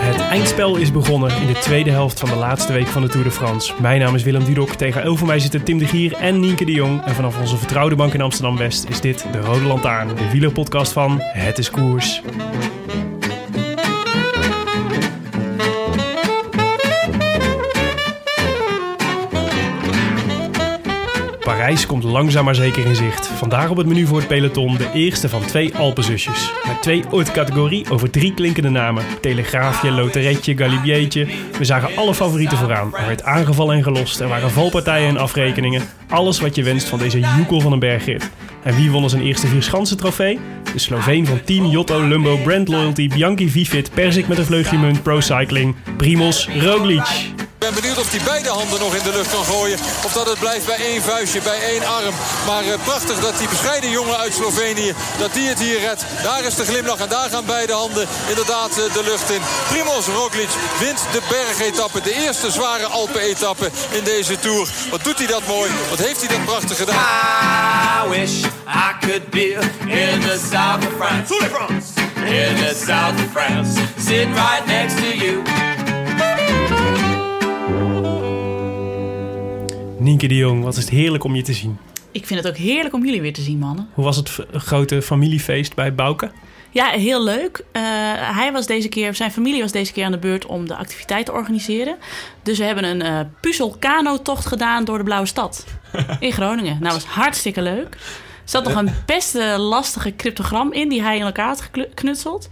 Het eindspel is begonnen in de tweede helft van de laatste week van de Tour de France. Mijn naam is Willem Dudok. Tegenover mij zitten Tim de Gier en Nienke de Jong. En vanaf onze vertrouwde bank in Amsterdam-West is dit de Rode Lantaarn. De wielerpodcast van Het is Koers. Parijs komt langzaam maar zeker in zicht. Vandaag op het menu voor het peloton de eerste van twee Alpenzusjes. Met twee ooit categorie over drie klinkende namen. Telegraafje, Loteretje, Galibiertje. We zagen alle favorieten vooraan. Er werd aangevallen en gelost. Er waren valpartijen en afrekeningen. Alles wat je wenst van deze joekel van een bergrit. En wie won zijn eerste vierschansen trofee? De Sloveen van Team Jotto, Lumbo, Brand Loyalty, Bianchi Vifit, Perzik met een vleugje munt, Pro Cycling, Primoz, Roglic. Ik ben benieuwd of hij beide handen nog in de lucht kan gooien. Of dat het blijft bij één vuistje, bij één arm. Maar eh, prachtig dat die bescheiden jongen uit Slovenië, dat die het hier redt. Daar is de glimlach en daar gaan beide handen inderdaad eh, de lucht in. Primoz Roglic wint de bergetappe. De eerste zware Alpen-etappe in deze Tour. Wat doet hij dat mooi, wat heeft hij dat prachtig gedaan. I wish I could be in the south of France. In the south of France. Sitting right next to you. Nienke de Jong, wat is het heerlijk om je te zien. Ik vind het ook heerlijk om jullie weer te zien, mannen. Hoe was het v- grote familiefeest bij Bouke? Ja, heel leuk. Eh, hij was deze keer, zijn familie was deze keer aan de beurt om de activiteit te organiseren. Dus we hebben een eh puzzelkano-tocht gedaan door de Blauwe Stad in Groningen. Nou, was hartstikke leuk. Er zat nog een best eh, lastige cryptogram in die hij in elkaar had geknu- geknutseld.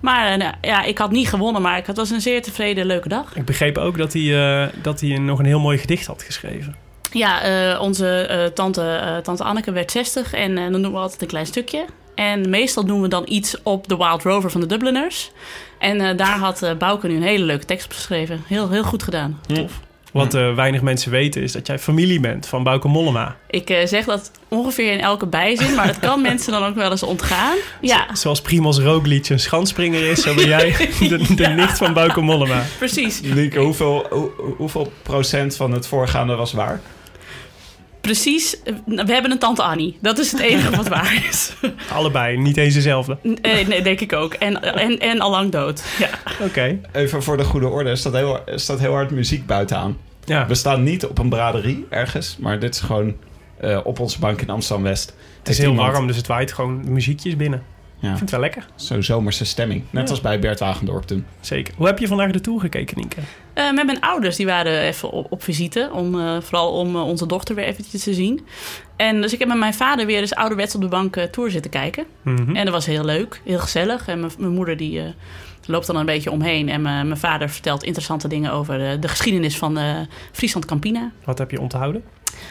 Maar eh, nou, ja, ik had niet gewonnen, maar ik- het was een zeer tevreden leuke dag. Ik begreep ook dat hij, eh, dat hij nog een heel mooi gedicht had geschreven. Ja, eh, onze eh, tante, eh, tante Anneke werd 60 en eh, dan doen we altijd een klein stukje. En meestal doen we dan iets op de Wild Rover van de Dubliners. En eh, daar had eh Bouke nu een hele leuke tekst op geschreven. Heel, heel goed gedaan. Wat eh, weinig mensen weten is dat jij familie bent van Bouke Mollema. Ik eh, zeg dat ongeveer in elke bijzin, maar dat kan mensen dan ook wel eens ontgaan. Ja, Zoals Primoz Roglic een schanspringer is, zo ben jij de, de nicht van Bouke Mollema. precies. Nienke, hoeveel, hoe- hoeveel procent van het voorgaande was waar? Precies. eh, We hebben een tante Annie. Dat is het enige wat waar is. Allebei, niet eens dezelfde. Eh, nee, denk ik ook. En, en, en allang dood. Ja. Oké, Even voor de goede orde, er staat heel, er staat heel hard muziek buitenaan. ja. We staan niet op een braderie ergens, maar dit is gewoon eh, op onze bank in Amsterdam-West. Het is heel warm, dus het waait gewoon muziekjes binnen. Ja, Ik vind het wel lekker, zo'n zomerse stemming. Net Ja. als bij Bert Wagendorp toen. zeker. Hoe heb je vandaag de Tour gekeken, Nienke? Eh, met mijn ouders, die waren even op, op visite. Om, eh, vooral om eh, onze dochter weer eventjes te zien. En dus ik heb met mijn vader weer eens ouderwets op de bank eh, tour zitten kijken. Mhm. En dat was heel leuk, heel gezellig. En mijn- mijn moeder die eh, loopt dan een beetje omheen. En eh, mijn mijn vader vertelt interessante dingen over eh, de geschiedenis van eh, Friesland Campina. Wat heb je onthouden?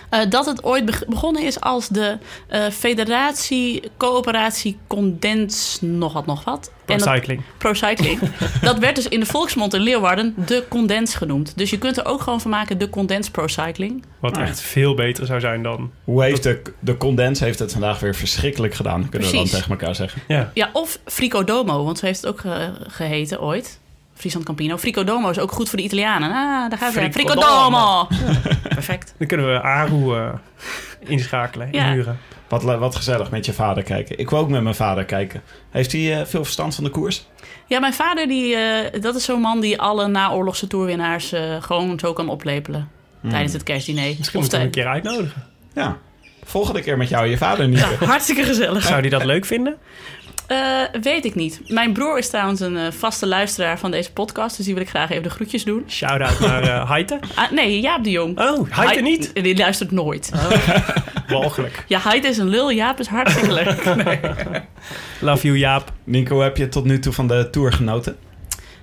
Eh, dat het ooit beg- begonnen is als de eh, Federatie Coöperatie Condens nog wat nog wat. En dat- Recycling. Pro Cycling. dat werd dus in de volksmond in Leeuwarden de condens genoemd. Dus je kunt er ook gewoon van maken de condens Pro Cycling. Wat echt veel beter zou zijn dan... Hoe heeft de, de condens heeft het vandaag weer verschrikkelijk gedaan, kunnen we dan Precies. tegen elkaar zeggen. Ja, Ja, of Frico Domo, want zo heeft het ook ge- geheten ooit. Friesland Campino. Frico Domo is ook goed voor de Italianen. Ah, daar gaat het. Frico Frico Domo! Perfect. dan kunnen we Aru eh, inschakelen, Ja. inhuren. Wat, le- wat gezellig met je vader kijken. Ik wil ook met mijn vader kijken. Heeft hij eh, veel verstand van de koers? Ja, mijn vader, die, eh, dat is zo'n man die alle naoorlogse toerwinnaars eh, gewoon zo kan oplepelen. Tijdens het kerstdiner. Hmm. Misschien Of moeten we hem tij- een keer uitnodigen. Ja. Volgende keer met jou en je vader niet. Ja, hartstikke gezellig. Zou die dat leuk vinden? Eh, weet ik niet. Mijn broer is trouwens een eh, vaste luisteraar van deze podcast, dus die wil ik graag even de groetjes doen. Shout-out naar eh Heite. Ah, nee, Jaap de Jong. Oh, Heite niet? Oh. Hij- Die luistert nooit. Walgelijk. Ja, Heid is een lul, Jaap is hartstikke leuk. Love you, Jaap. Nico, heb je tot nu toe van de tour genoten?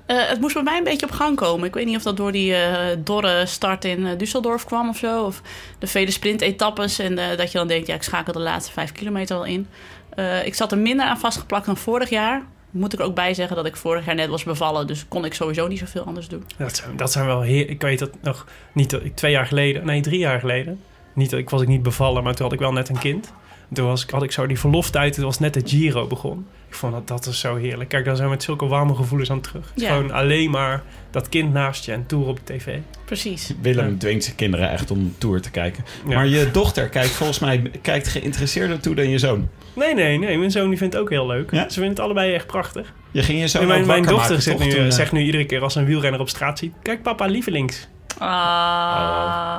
Eh, het moest bij mij een beetje op gang komen. Ik weet niet of dat door die eh, dorre start in eh, Düsseldorf kwam of zo. Of de vele sprintetappes. En eh, dat je dan denkt, ja, ik schakel de laatste vijf kilometer wel in. Eh, ik zat er minder aan vastgeplakt dan vorig jaar. Moet ik er ook bij zeggen dat ik vorig jaar net was bevallen. Dus kon ik sowieso niet zoveel anders doen. Dat zijn, dat zijn wel heer. Ik weet dat nog niet dat ik twee jaar geleden, nee, drie jaar geleden. Niet dat ik was ik niet bevallen, maar toen had ik wel net een kind. Toen was, ik- had ik zo die verloftijd, toen was net de Giro begon. Ik vond dat, dat is zo heerlijk. Kijk, daar zijn we met zulke warme gevoelens aan terug. Het is Ja. Gewoon alleen maar dat kind naast je en toer op de tv. Precies. Willem dwingt zijn kinderen echt om tour te kijken. Ja. Maar je dochter kijkt volgens mij kijkt geïnteresseerder toe dan je zoon. Nee, nee, nee. Mijn zoon die vindt het ook heel leuk. Ja? Ze vinden het allebei echt prachtig. Je ging je zoon En mijn, ook mijn wakker dochter maken, zegt toch, nu, toen, eh, zegt nu iedere keer als ze een wielrenner op straat ziet... Kijk, papa, lievelings. Ah.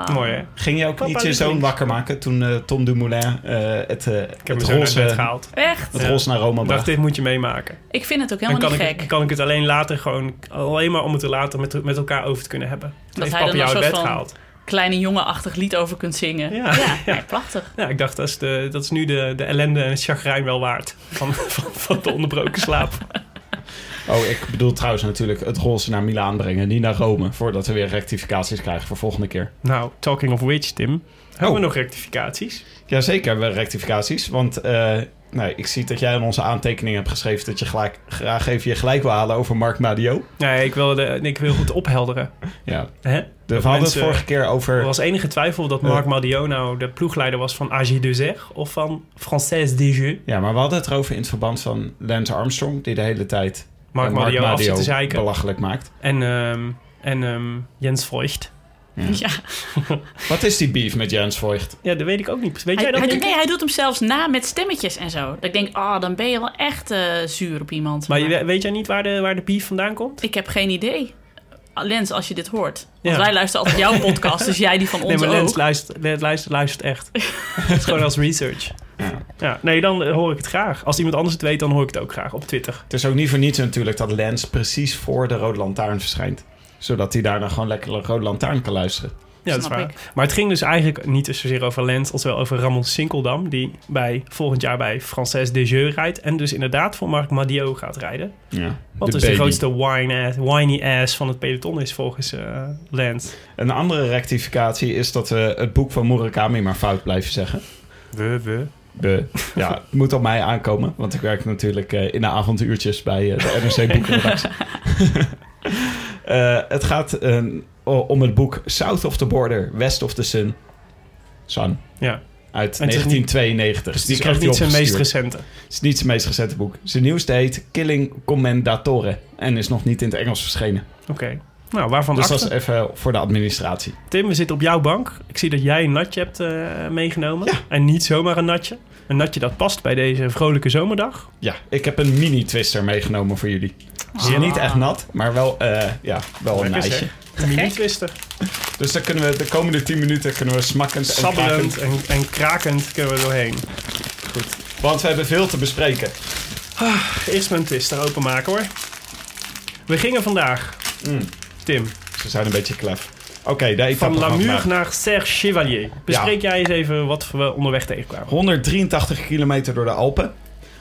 Oh, Mooi, hè? Ging je ook Papa, niet je zoon lievelings. wakker maken toen eh, Tom Dumoulin eh, het, eh Ik heb het, mijn zoon roze, uit bed het gehaald. Echt? Ja. roze naar Rome Ik dacht, bracht? dit moet je meemaken. Ik vind het ook Dan helemaal kan niet ik, gek. kan ik het alleen later gewoon... Alleen maar om het er later met, met elkaar over te kunnen hebben. Dat heeft hij papa dan jou een uit soort bed van- gehaald. Kleine jongenachtig lied over kunt zingen. Ja. Ja, nee, prachtig. Ja, ik dacht, dat is, de, dat is nu de, de ellende en het chagrijn wel waard. Van, van, van de onderbroken slaap. Oh, ik bedoel trouwens natuurlijk het roze naar Milaan brengen, niet naar Rome. Voordat we weer rectificaties krijgen voor volgende keer. Nou, talking of which, Tim. Hebben Oh. we nog rectificaties? Jazeker hebben we rectificaties, want eh, nee, ik zie dat jij in onze aantekening hebt geschreven dat je gelijk, graag even je gelijk wil halen over Mark Madio. Nee, ik wil, de, ik wil het ophelderen. Ja, Hè? we hadden het mensen- vorige keer over... Er was enige twijfel dat Marc Madio nou de ploegleider was van AG de Zeg of van Française des Jeux. Ja, maar we hadden het erover in het verband van Lance Armstrong, die de hele tijd Marc eh, Madio af zit te zeiken. belachelijk maakt. En, ehm, en ehm, Jens Voigt. Ja. Wat is die beef met Jens Voigt? Ja, dat weet ik ook niet. Weet jij dat Hij, hij- niet? nee, hij doet hem zelfs na met stemmetjes en zo. Dat ik denk, ah, dan ben je wel echt eh, zuur op iemand. Maar je- weet jij niet waar de, waar de beef vandaan komt? ik heb geen idee. Lens, als je dit hoort. Want Ja. wij luisteren altijd jouw podcast, dus jij die van ons nee, maar Lens ook. luistert, Lens luistert, luistert echt. Het is gewoon als research. Ja, nee, dan eh, hoor ik het graag. Als iemand anders het weet, dan hoor ik het ook graag op Twitter. Het is ook niet voor niets natuurlijk dat Lance precies voor de Rode Lantaarn verschijnt. Zodat hij daarna gewoon lekker de Rode Lantaarn kan luisteren. Ja, dat is Snap waar. Maar het ging dus eigenlijk niet zozeer over Lens als wel over Ramon Sinkeldam, die bij, volgend jaar bij Française des Jeux rijdt en dus inderdaad voor Marc Madio gaat rijden. Ja, Wat dus de grootste wine ass, whiny ass van het peloton is volgens eh Lance. Een andere rectificatie is dat we het boek van Murakami maar fout blijven zeggen. We, we. De, ja, het moet op mij aankomen, want ik werk natuurlijk eh, in de avonduurtjes bij eh, de NRC Boekenredactie. Eh, het gaat eh, o- om het boek South of the Border, West of the Sun. Sun. Ja. Uit En het is niet- 1992. Dus Die die krijgt krijgt hij niet zijn meest opgestuurd. recente. Het is niet zijn meest recente boek. Zijn nieuwste heet Killing Commendatore en is nog niet in het Engels verschenen. Oké. Nou, waarvan Dus dus dat is even voor de administratie. Tim, we zitten op jouw bank. Ik zie dat jij een natje hebt eh, meegenomen. En niet zomaar een natje. Een natje dat past bij deze vrolijke zomerdag. Ja, ik heb een mini-twister meegenomen voor jullie. Ze is niet echt nat, maar wel, eh, ja, wel een Lekker ijsje. zeg. Een mini-twister. Dus dan kunnen we de komende 10 minuten kunnen we smakkend en Sabbelend krakend- en, en krakend kunnen we er doorheen. Want we hebben veel te bespreken. Eerst mijn twister openmaken hoor. We gingen vandaag, Tim, Ze zijn een beetje klef. Oké, de etappe van van Lamur vandaag. naar Serre Chevalier. Bespreek jij eens even wat we onderweg tegenkwamen. 183 kilometer door de Alpen.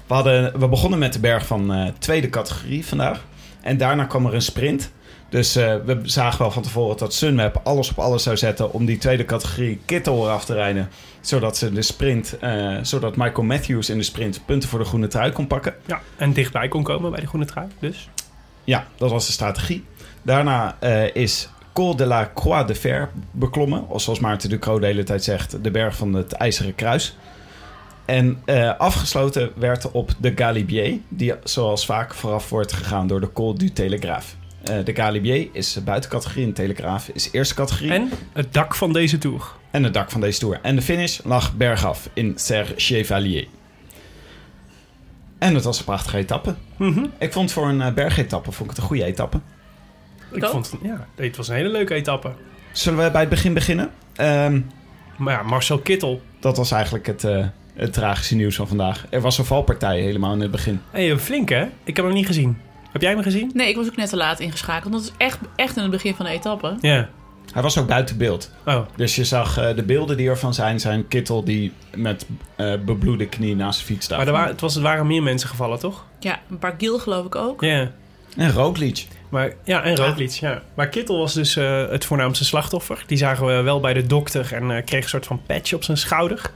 We, hadden, we begonnen met de berg van eh, tweede categorie vandaag. En daarna kwam er een sprint. Dus eh, we zagen wel van tevoren dat Sunweb alles op alles zou zetten om die tweede categorie Kittel eraf te rijden. Zodat ze de sprint, eh, zodat Michael Matthews in de sprint punten voor de groene trui kon pakken. Ja, en dichtbij kon komen bij de Groene Trui. Dus Ja, dat was de strategie. Daarna eh, is Col de la Croix de Fer beklommen. Of zoals Maarten Ducro de hele tijd zegt, de berg van het IJzeren Kruis. En eh, afgesloten werd op de Galibier, die zoals vaak vooraf wordt gegaan door de Col du Telegraaf. Eh, de Galibier is buitencategorie en Telegraaf is eerste categorie. En het dak van deze tour. En het dak van deze tour. En de finish lag bergaf in Serre Chevalier. En het was een prachtige etappe. Ik vond voor een eh, bergetappe vond ik het een goede etappe. Ik Toch? vond het, ja, het was een hele leuke etappe. Zullen we bij het begin beginnen? Ehm, Maar ja, Marcel Kittel. dat was eigenlijk het, eh, Het tragische nieuws van vandaag. Er was een valpartij helemaal in het begin. hey, flink hè? Ik heb hem niet gezien. Heb jij hem gezien? Nee, ik was ook net te laat ingeschakeld. Dat is echt, echt in het begin van de etappe. Ja. Hij was ook buiten beeld. Oh, Dus je zag eh, de beelden die ervan zijn, zijn Kittel die met eh, bebloede knie naast zijn fiets staat. maar er, waren, het was, er waren meer mensen gevallen, toch? Ja, Bargiel geloof ik ook. Ja. En Roglic. Maar, ja, en Roglic, ja. Maar Kittel was dus eh, het voornaamste slachtoffer. Die zagen we wel bij de dokter en eh, kreeg een soort van patch op zijn schouder.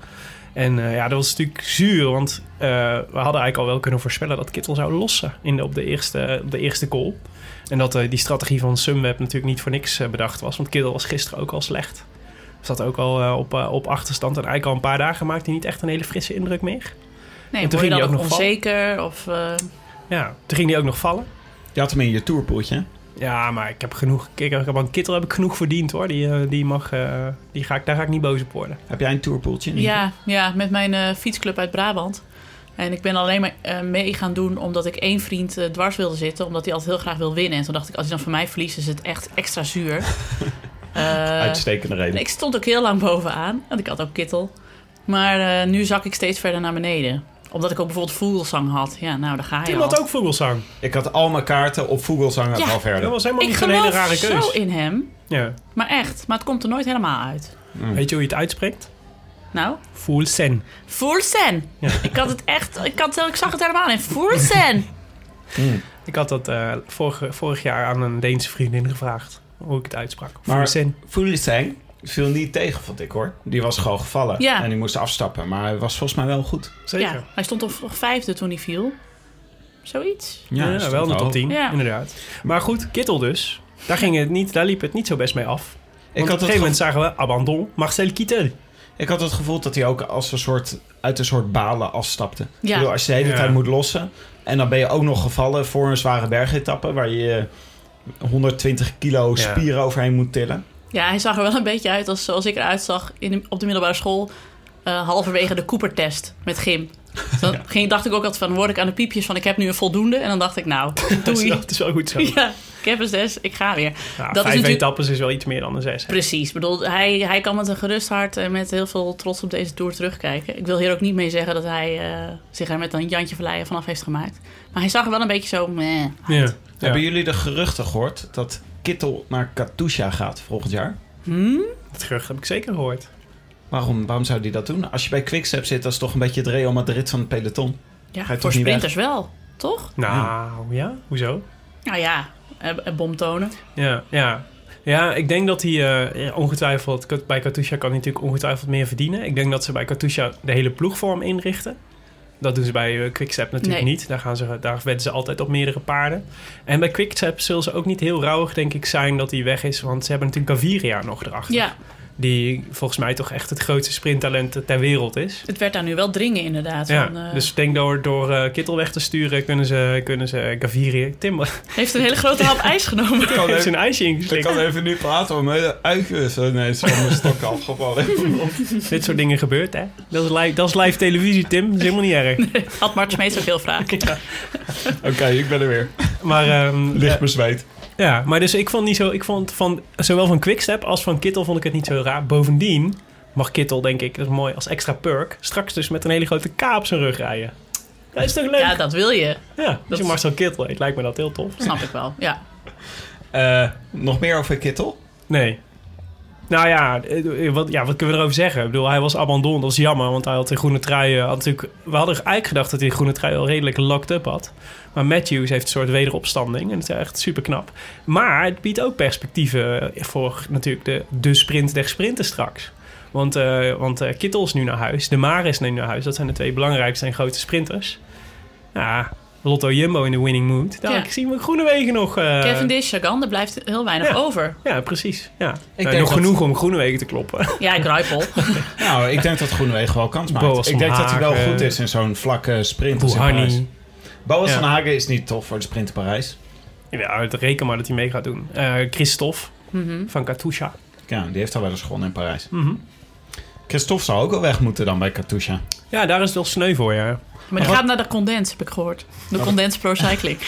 En eh, ja, dat was natuurlijk zuur, want eh, we hadden eigenlijk al wel kunnen voorspellen dat Kittel zou lossen in de, op, de eerste, op de eerste call. En dat eh, die strategie van Sunweb natuurlijk niet voor niks eh, bedacht was, want Kittel was gisteren ook al slecht. Zat ook al eh, op, eh, op achterstand en eigenlijk al een paar dagen maakte hij niet echt een hele frisse indruk meer. Nee, En toen word je ging dan hij ook ook nog onzeker? Of, eh, Ja, toen ging hij ook nog vallen. Je had hem in je tourpoeltje. hè? Ja, maar ik heb genoeg. Ik heb, aan Kittel heb ik genoeg verdiend hoor. Die, eh, die mag. eh, die ga ik, daar ga ik niet boos op worden. Heb jij een tourpoeltje? ja, ja, met mijn eh, fietsclub uit Brabant. En ik ben alleen maar eh, mee gaan doen omdat ik één vriend eh, dwars wilde zitten. Omdat hij altijd heel graag wil winnen. En toen dacht ik, als hij dan van mij verliest, is het echt extra zuur. Eh, Uitstekende reden. En Ik stond ook heel lang bovenaan, want ik had ook kittel. Maar eh, nu zak ik steeds verder naar beneden. Omdat ik ook bijvoorbeeld vogelsang had. Ja, nou, daar ga je Tim al. had ook vogelsang. Ik had al mijn kaarten op Vogelsang Ja. en al Dat verder. was helemaal ik niet zo'n hele geloof rare keus. zo in hem. Ja. Maar echt, maar het komt er nooit helemaal uit. Mm. Weet je hoe je het uitspreekt? Nou, Voelsen. Voersen. Ik had het echt, ik, had, ik zag het helemaal in. Voersen. Hmm. Ik had dat eh, vorige, vorig jaar aan een Deense vriendin gevraagd. Hoe ik het uitsprak. Maar- Voelsen. Fulisang viel niet tegen, vond ik hoor. Die was gewoon gevallen. Ja. En die moest afstappen. Maar hij was volgens mij wel goed. Zeker. ja, Ja. hij stond op op vijfde toen hij viel. Zoiets. hij stond wel in de top hoog. 10, Ja. inderdaad. Maar goed, Kittel dus. Daar, ging het niet, daar liep het niet zo best mee af. Ik Want had, op een het gegeven moment gevoel, zagen we Abandon Marcel Kittel. ik had het gevoel dat hij ook als een soort, uit een soort balen afstapte. Ik bedoel, als je de hele Ja. tijd moet lossen. En dan ben je ook nog gevallen voor een zware bergetappe. Waar je eh, 120 kilo Ja. spieren overheen moet tillen. Ja, hij zag er wel een beetje uit als zoals ik eruit zag in de- op de middelbare school. eh, halverwege de Cooper-test met Gym. Dan ging, dacht ik ook altijd van, word ik aan de piepjes van ik heb nu een voldoende? En dan dacht ik, nou, Dat is, doei. wel- dat is wel goed zo. ja, ik heb een zes, ik ga weer. Nou, dat is vijf natuurlijk- etappes is wel iets meer dan een zes. hè? Precies, ik bedoel, hij, hij kan met een gerust hart en met heel veel trots op deze Tour terugkijken. Ik wil hier ook niet mee zeggen dat hij eh, zich er met een Jantje Verleijen vanaf heeft gemaakt. Maar hij zag er wel een beetje zo, meh. Ja. Hebben jullie de geruchten gehoord dat Kittel naar Katusha gaat volgend jaar? Het gerucht heb ik zeker gehoord. Waarom, waarom zou die dat doen? Als je bij Quickstep zit, dat is toch een beetje het Real Madrid van het peloton. Ja, Ga je voor toch niet weg? sprinters wel, toch? Nou, ja? Hoezo? Nou ja, eh, eh, bomtonen. Ja, ja. Ja, ik denk dat hij eh, ja, ongetwijfeld... Kat- Bij Katusha kan hij natuurlijk ongetwijfeld meer verdienen. Ik denk dat ze bij Katusha de hele ploeg voor hem inrichten. Dat doen ze bij eh, Quickstep natuurlijk Nee. niet. Daar, gaan ze, daar wedden ze altijd op meerdere paarden. En bij Quickstep zullen ze ook niet heel rauwig, denk ik, zijn dat hij weg is. Want ze hebben natuurlijk Gaviria nog erachter. Ja, Die volgens mij toch echt het grootste sprinttalent ter wereld is. het werd daar nu wel dringen inderdaad. Ja, van, eh, dus ik denk door, door eh, Kittel weg te sturen kunnen ze, kunnen ze Gaviri... Tim Heeft een hele grote hap ijs genomen. heeft zijn ijsje ingeslikt. even nu praten om hele uitjes. eh, Nee, is van mijn stok afgevallen. Dit soort dingen gebeurt, hè? Dat is live, dat is live televisie, Tim. Dat is helemaal niet erg. Had Mart Smeets ook heel vragen. Oké, ik ben er weer. Maar, ehm, Licht bezweet. ja, maar dus ik vond, niet zo, ik vond van zowel van Quickstep als van Kittel vond ik het niet zo raar. Bovendien mag Kittel, denk ik, dat is mooi als extra perk, straks dus met een hele grote K op zijn rug rijden. Dat is toch leuk? Ja, Ja, dat wil je. dat is Marcel Kittel. Het lijkt me dat heel tof. Snap ik wel. Ja. Eh, nog meer over Kittel? Nee. Nou ja, eh, wat, ja, wat kunnen we erover zeggen? Ik bedoel, hij was abandon, dat is jammer, want hij had de groene trui. eh, Had natuurlijk, we hadden eigenlijk gedacht dat hij de groene trui al redelijk locked up had. Maar Matthews heeft een soort wederopstanding en het is echt super knap. Maar het biedt ook perspectieven eh, voor natuurlijk de, de sprint der sprinten straks. Want, eh, want eh, Kittel is nu naar huis, De Mare is nu naar huis. Dat zijn de twee belangrijkste en grote sprinters. Ja, Lotto Jumbo in de winning mood. Daar Ja. zien we Groenewegen nog. eh, Kevin Dish, Sagan, er blijft heel weinig ja. over. ja, precies. Ja. denk Nou, nog dat- genoeg om Groenewegen te kloppen. Ja, Kruipel. Nou, ik denk dat Groenewegen wel kans maakt. Boas ik denk van dat hij wel Hagen. goed is in zo'n vlakke sprint. als in Parijs. Rouhani. Boas Ja. van Hagen is niet tof voor de sprint in Parijs. Ja, het reken maar dat hij mee gaat doen. Eh, Christophe Mhm. van Katusha. Ja, die heeft al wel eens gewonnen in Parijs. Mhm. Christophe zou ook wel weg moeten dan bij Katusha. Ja, daar is het wel sneu voor, ja. Maar die gaat naar de Condens, heb ik gehoord. De Condens Pro Cycling.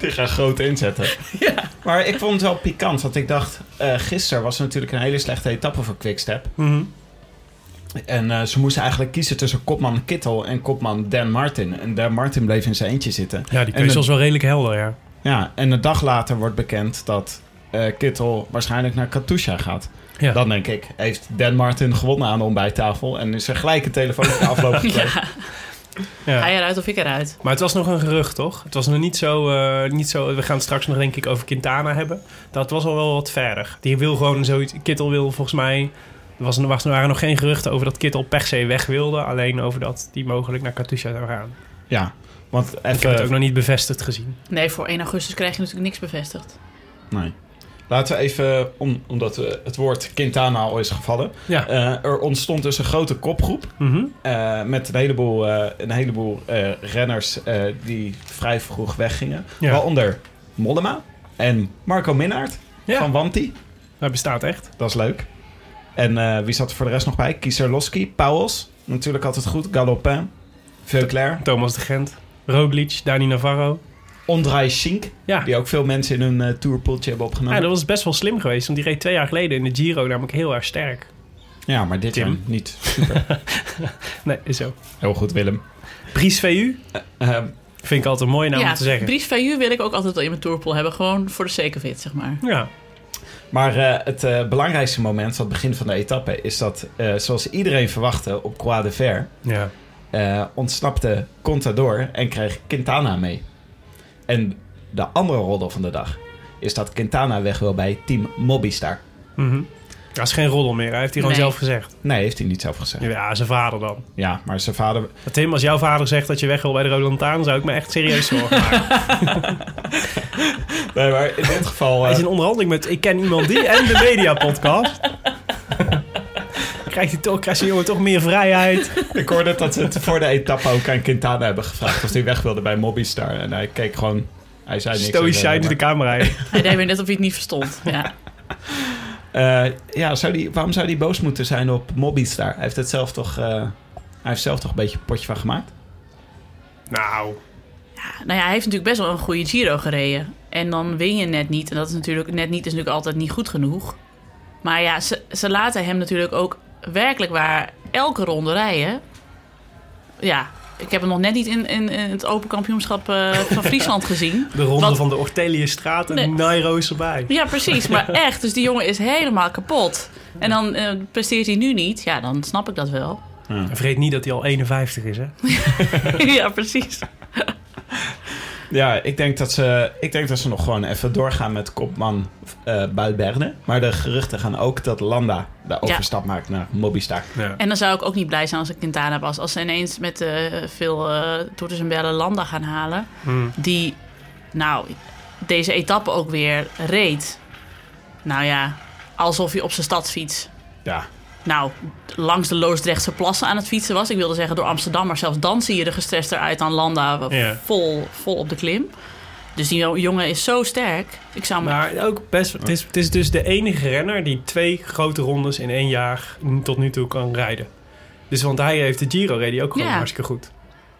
Die gaan groot inzetten. Maar ik vond het wel pikant, want ik dacht... eh gisteren was er natuurlijk een hele slechte etappe voor Quickstep. Mhm. En eh, ze moesten eigenlijk kiezen tussen kopman Kittel en kopman Dan Martin. En Dan Martin bleef in zijn eentje zitten. Ja, die En keuze de- was wel redelijk helder, ja. Ja, en een dag later wordt bekend dat eh, Kittel waarschijnlijk naar Katusha gaat. Ja. Dan denk ik, heeft Dan Martin gewonnen aan de ontbijttafel. En is er gelijk een telefoontje afgelopen gekregen. Ja, Ja. hij eruit of ik eruit. Maar het was nog een gerucht, toch? Het was nog niet zo, eh, niet zo... We gaan het straks nog denk ik over Quintana hebben. Dat was al wel wat verder. Die wil gewoon zoiets... Kittel wil volgens mij... Er was, was, er waren nog geen geruchten over dat Kittel per se weg wilde. Alleen over dat die mogelijk naar Katusha zou gaan. Ja, want Ik heb het ook even... nog niet bevestigd gezien. Nee, voor 1 augustus krijg je natuurlijk niks bevestigd. Nee. Laten we even, om, omdat eh, het woord Quintana al is gevallen. Ja. Eh, er ontstond dus een grote kopgroep. Mhm. eh, met een heleboel, eh, een heleboel eh, renners eh, die vrij vroeg weggingen. Ja. Waaronder Mollema en Marco Minnaert Ja. van Wanti. Hij bestaat echt. Dat is leuk. En eh, wie zat er voor de rest nog bij? Kieserlowski, Pauwels. Natuurlijk altijd goed. Galopin. Veuclair. Thomas de Gent. Roglic. Dani Navarro. Andrei Schink. Ja. Die ook veel mensen in hun eh, tourpoeltje hebben Ja, opgenomen. dat was best wel slim geweest. Want die reed twee jaar geleden in de Giro namelijk heel erg sterk. Ja, maar dit Tim. jaar niet. Super. Nee, is zo. Heel goed, Willem. Pries VU. Eh, Vind ik altijd een mooie naam nou om ja, te zeggen. Dries Fayu wil ik ook altijd wel in mijn tourpool hebben. Gewoon voor de zeker wit, zeg maar. Ja. maar eh, het eh, belangrijkste moment van het begin van de etappe is dat, eh, zoals iedereen verwachtte op Croix de Ver, Ja. eh, ontsnapte Contador en kreeg Quintana mee. En de andere roddel van de dag is dat Quintana weg wil bij Team Mobistar. Mhm. Dat is geen roddel meer. Hij heeft hij gewoon Nee. zelf gezegd. Nee, heeft hij niet zelf gezegd. Ja, zijn vader dan. Ja, maar zijn vader. Maar Tim, als jouw vader zegt dat je weg wil bij de Rode Lantaarn, zou ik me echt serieus zorgen maken. Nee, maar in dit geval. Hij eh, is in onderhandeling met Ik Ken Iemand Die en de Media Podcast. Krijgt hij toch, krijgt die jongen toch meer vrijheid? ik hoorde dat ze het voor de etappe ook aan Quintana hebben gevraagd of hij weg wilde bij Mobistar. En hij keek gewoon. Hij zei niks. Stoïcijns de Maar- camera in. Hij deed weer net of hij het niet verstond. Ja. Eh, ja, zou die, waarom zou hij boos moeten zijn op Mobistar? Hij heeft het zelf toch. eh, hij heeft zelf toch een beetje een potje van gemaakt. Nou, Nou ja, hij heeft natuurlijk best wel een goede Giro gereden. En dan win je net niet. En dat is natuurlijk net niet is natuurlijk altijd niet goed genoeg. Maar ja, ze, ze laten hem natuurlijk ook werkelijk waar elke ronde rijden. Ja, ik heb hem nog net niet in, in, in het Open Kampioenschap eh, van Friesland gezien. de ronde Wat- van de Orteliusstraat en Nee. Nairo is erbij. Ja, precies. Maar echt, dus die jongen is helemaal kapot. En dan eh, presteert hij nu niet. Ja, dan snap ik dat wel. En Vergeet niet dat hij al 51 is, hè? ja, precies. Ja, ik denk dat ze, ik denk dat ze nog gewoon even doorgaan met kopman eh Balberde. Maar de geruchten gaan ook dat Landa de overstap maakt naar Mobistar. En dan zou ik ook niet blij zijn als ik Quintana was. Als ze ineens met eh, veel eh toeters en bellen Landa gaan halen. Hmm. Die, nou, deze etappe ook weer reed. Nou ja, alsof hij op zijn stadsfiets... Ja. Nou, langs de Loosdrechtse plassen aan het fietsen was. Ik wilde zeggen door Amsterdam, maar zelfs dan zie je er gestrest eruit aan Landa. Ja. Vol, vol op de klim. Dus die jo- jongen is zo sterk. Ik zou me Maar ook best. Het is, het is dus de enige renner die twee grote rondes in één jaar tot nu toe kan rijden. Dus want hij heeft de Giro reed hij ook gewoon Ja. hartstikke goed.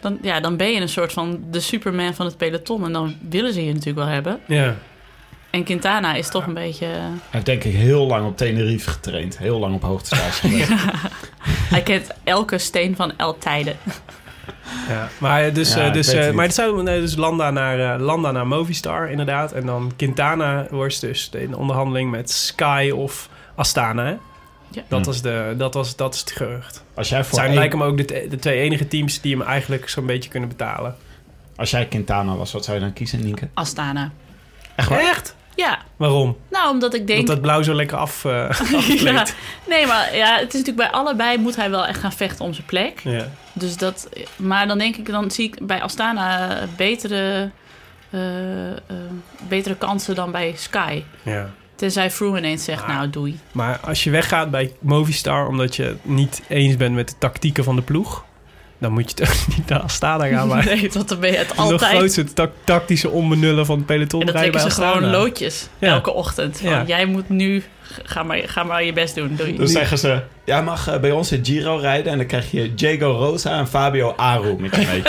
Dan, ja, dan ben je een soort van de Superman van het peloton. En dan willen ze je natuurlijk wel hebben. Ja. En Quintana is toch een beetje... eh, Hij heeft denk ik heel lang op Tenerife getraind. Heel lang op hoogtestage geweest. Hij kent elke steen van elk tijden. ja. Maar dus, Ja, eh, ik dus, weet het eh, niet. maar het zou nee, dus Landa naar eh, Landa naar Movistar inderdaad en dan Quintana was dus in onderhandeling met Sky of Astana. Hè? Ja. Dat Ja. was de dat was dat is het gerucht. Als jij, Het voor zijn één- lijken me ook de, te- de twee enige teams die hem eigenlijk zo'n beetje kunnen betalen. als jij Quintana was, wat zou je dan kiezen, Nienke? Astana. Echt waar? Ja, Waarom? nou omdat ik denk... Dat dat blauw zo lekker af. eh, afkleedt. Ja, nee, maar ja, het is natuurlijk bij allebei moet hij wel echt gaan vechten om zijn plek. ja. Dus dat, maar dan denk ik, dan zie ik bij Astana betere, eh, eh, betere kansen dan bij Sky. ja. Tenzij Froome ineens zegt, Ah. nou doei. Maar als je weggaat bij Movistar omdat je het niet eens bent met de tactieken van de ploeg, dan moet je toch niet naar Astana gaan. Maar Nee, tot dan ben je het nog altijd. grootste tac- tactische onbenullen van het peloton En dan rijden trekken bij ze Astana. gewoon loodjes Ja. elke ochtend. Van, Ja. Jij moet nu, ga maar, ga maar je best doen. Doei. Dan zeggen ze, jij mag eh, bij ons in Giro rijden. En dan krijg je Diego Rosa en Fabio Aru met je mee.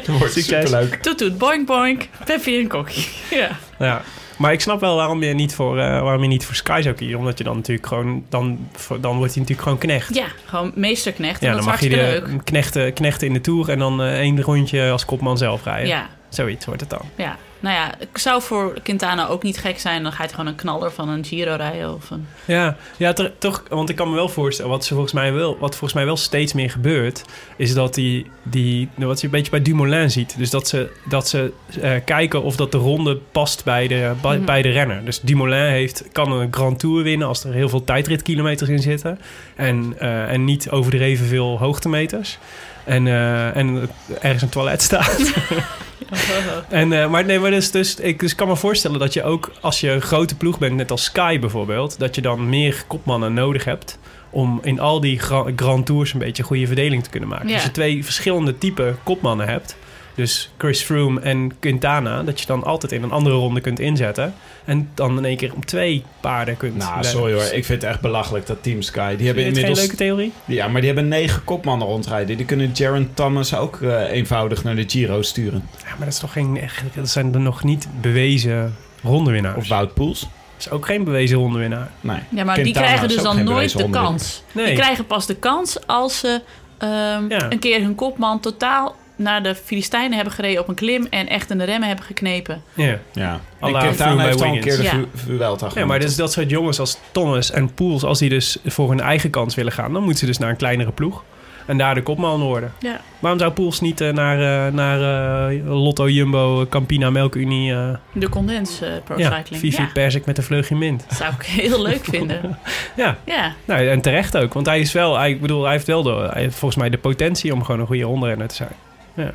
Dat wordt Succes. superleuk. Toet toet, boink boink, Peppi en Kokkie. Ja. Ja. Maar ik snap wel waarom je niet voor, eh, waarom je niet voor Sky zou kiezen. Omdat je dan natuurlijk gewoon... Dan, voor- dan wordt hij natuurlijk gewoon knecht. Ja, gewoon meesterknecht. en Ja, dat dan is mag je hartstikke leuk. de knechten, knechten in de Tour en dan eh, één rondje als kopman zelf rijden. Ja, Zoiets wordt het dan. ja. Nou ja, ik zou voor Quintana ook niet gek zijn. Dan gaat hij gewoon een knaller van een Giro rijden. Of een... Ja, ja ter- toch, want ik kan me wel voorstellen, wat, ze volgens mij wel, wat volgens mij wel steeds meer gebeurt, is dat die, die nou, wat je een beetje bij Dumoulin ziet. Dus dat ze, dat ze eh, kijken of dat de ronde past bij de, Mhm. bij, bij de renner. Dus Dumoulin heeft, kan een Grand Tour winnen als er heel veel tijdritkilometers in zitten. En, eh, en niet overdreven veel hoogtemeters. En, eh, en ergens een toilet staat. En, eh, maar nee, maar dus, dus, ik dus kan me voorstellen dat je ook als je een grote ploeg bent, net als Sky bijvoorbeeld, dat je dan meer kopmannen nodig hebt om in al die gra- Grand Tours een beetje een goede verdeling te kunnen maken. Dus Ja. Als je twee verschillende type kopmannen hebt, dus Chris Froome en Quintana, dat je dan altijd in een andere ronde kunt inzetten en dan in één keer om twee paarden kunt. Nou, leiden. sorry hoor. Ik vind het echt belachelijk dat Team Sky. Die Vind je hebben dit geen inmiddels. leuke theorie? Ja, maar die hebben negen kopmannen rondrijden. Die kunnen Jaron Thomas ook eh, eenvoudig naar de Giro sturen. Ja, maar dat is toch geen echt. Dat zijn er nog niet bewezen rondewinnaars. Of Wout Poels. Dat is ook geen bewezen rondewinnaar. Nee. Ja, maar die Quintana krijgen is dus ook dan geen nooit bewezen de onderwinnaar. kans. Nee. Die krijgen pas de kans als ze ehm, Ja. een keer hun kopman totaal naar de Filistijnen hebben gereden op een klim en echt in de remmen hebben geknepen. Ja. Ja. Alla En Froome Quintana bij heeft al een keer Wiggins. de Ja. Vu- Vuelta Ja, maar dus dat soort jongens als Thomas en Poels, als die dus voor hun eigen kans willen gaan, dan moeten ze dus naar een kleinere ploeg. En daar de kopman worden. Ja. Waarom zou Poels niet eh, naar, eh, naar eh, Lotto, Jumbo, Campina, Melkunie, eh De condens eh pro ja, cycling. Vivi Ja, Persik met een vleugje mint? dat zou ik heel leuk vinden. Ja. Ja, Nou, en terecht ook, want hij is wel, hij, ik bedoel, hij heeft wel de, hij heeft volgens mij de potentie om gewoon een goede rondrenner te zijn. Ja.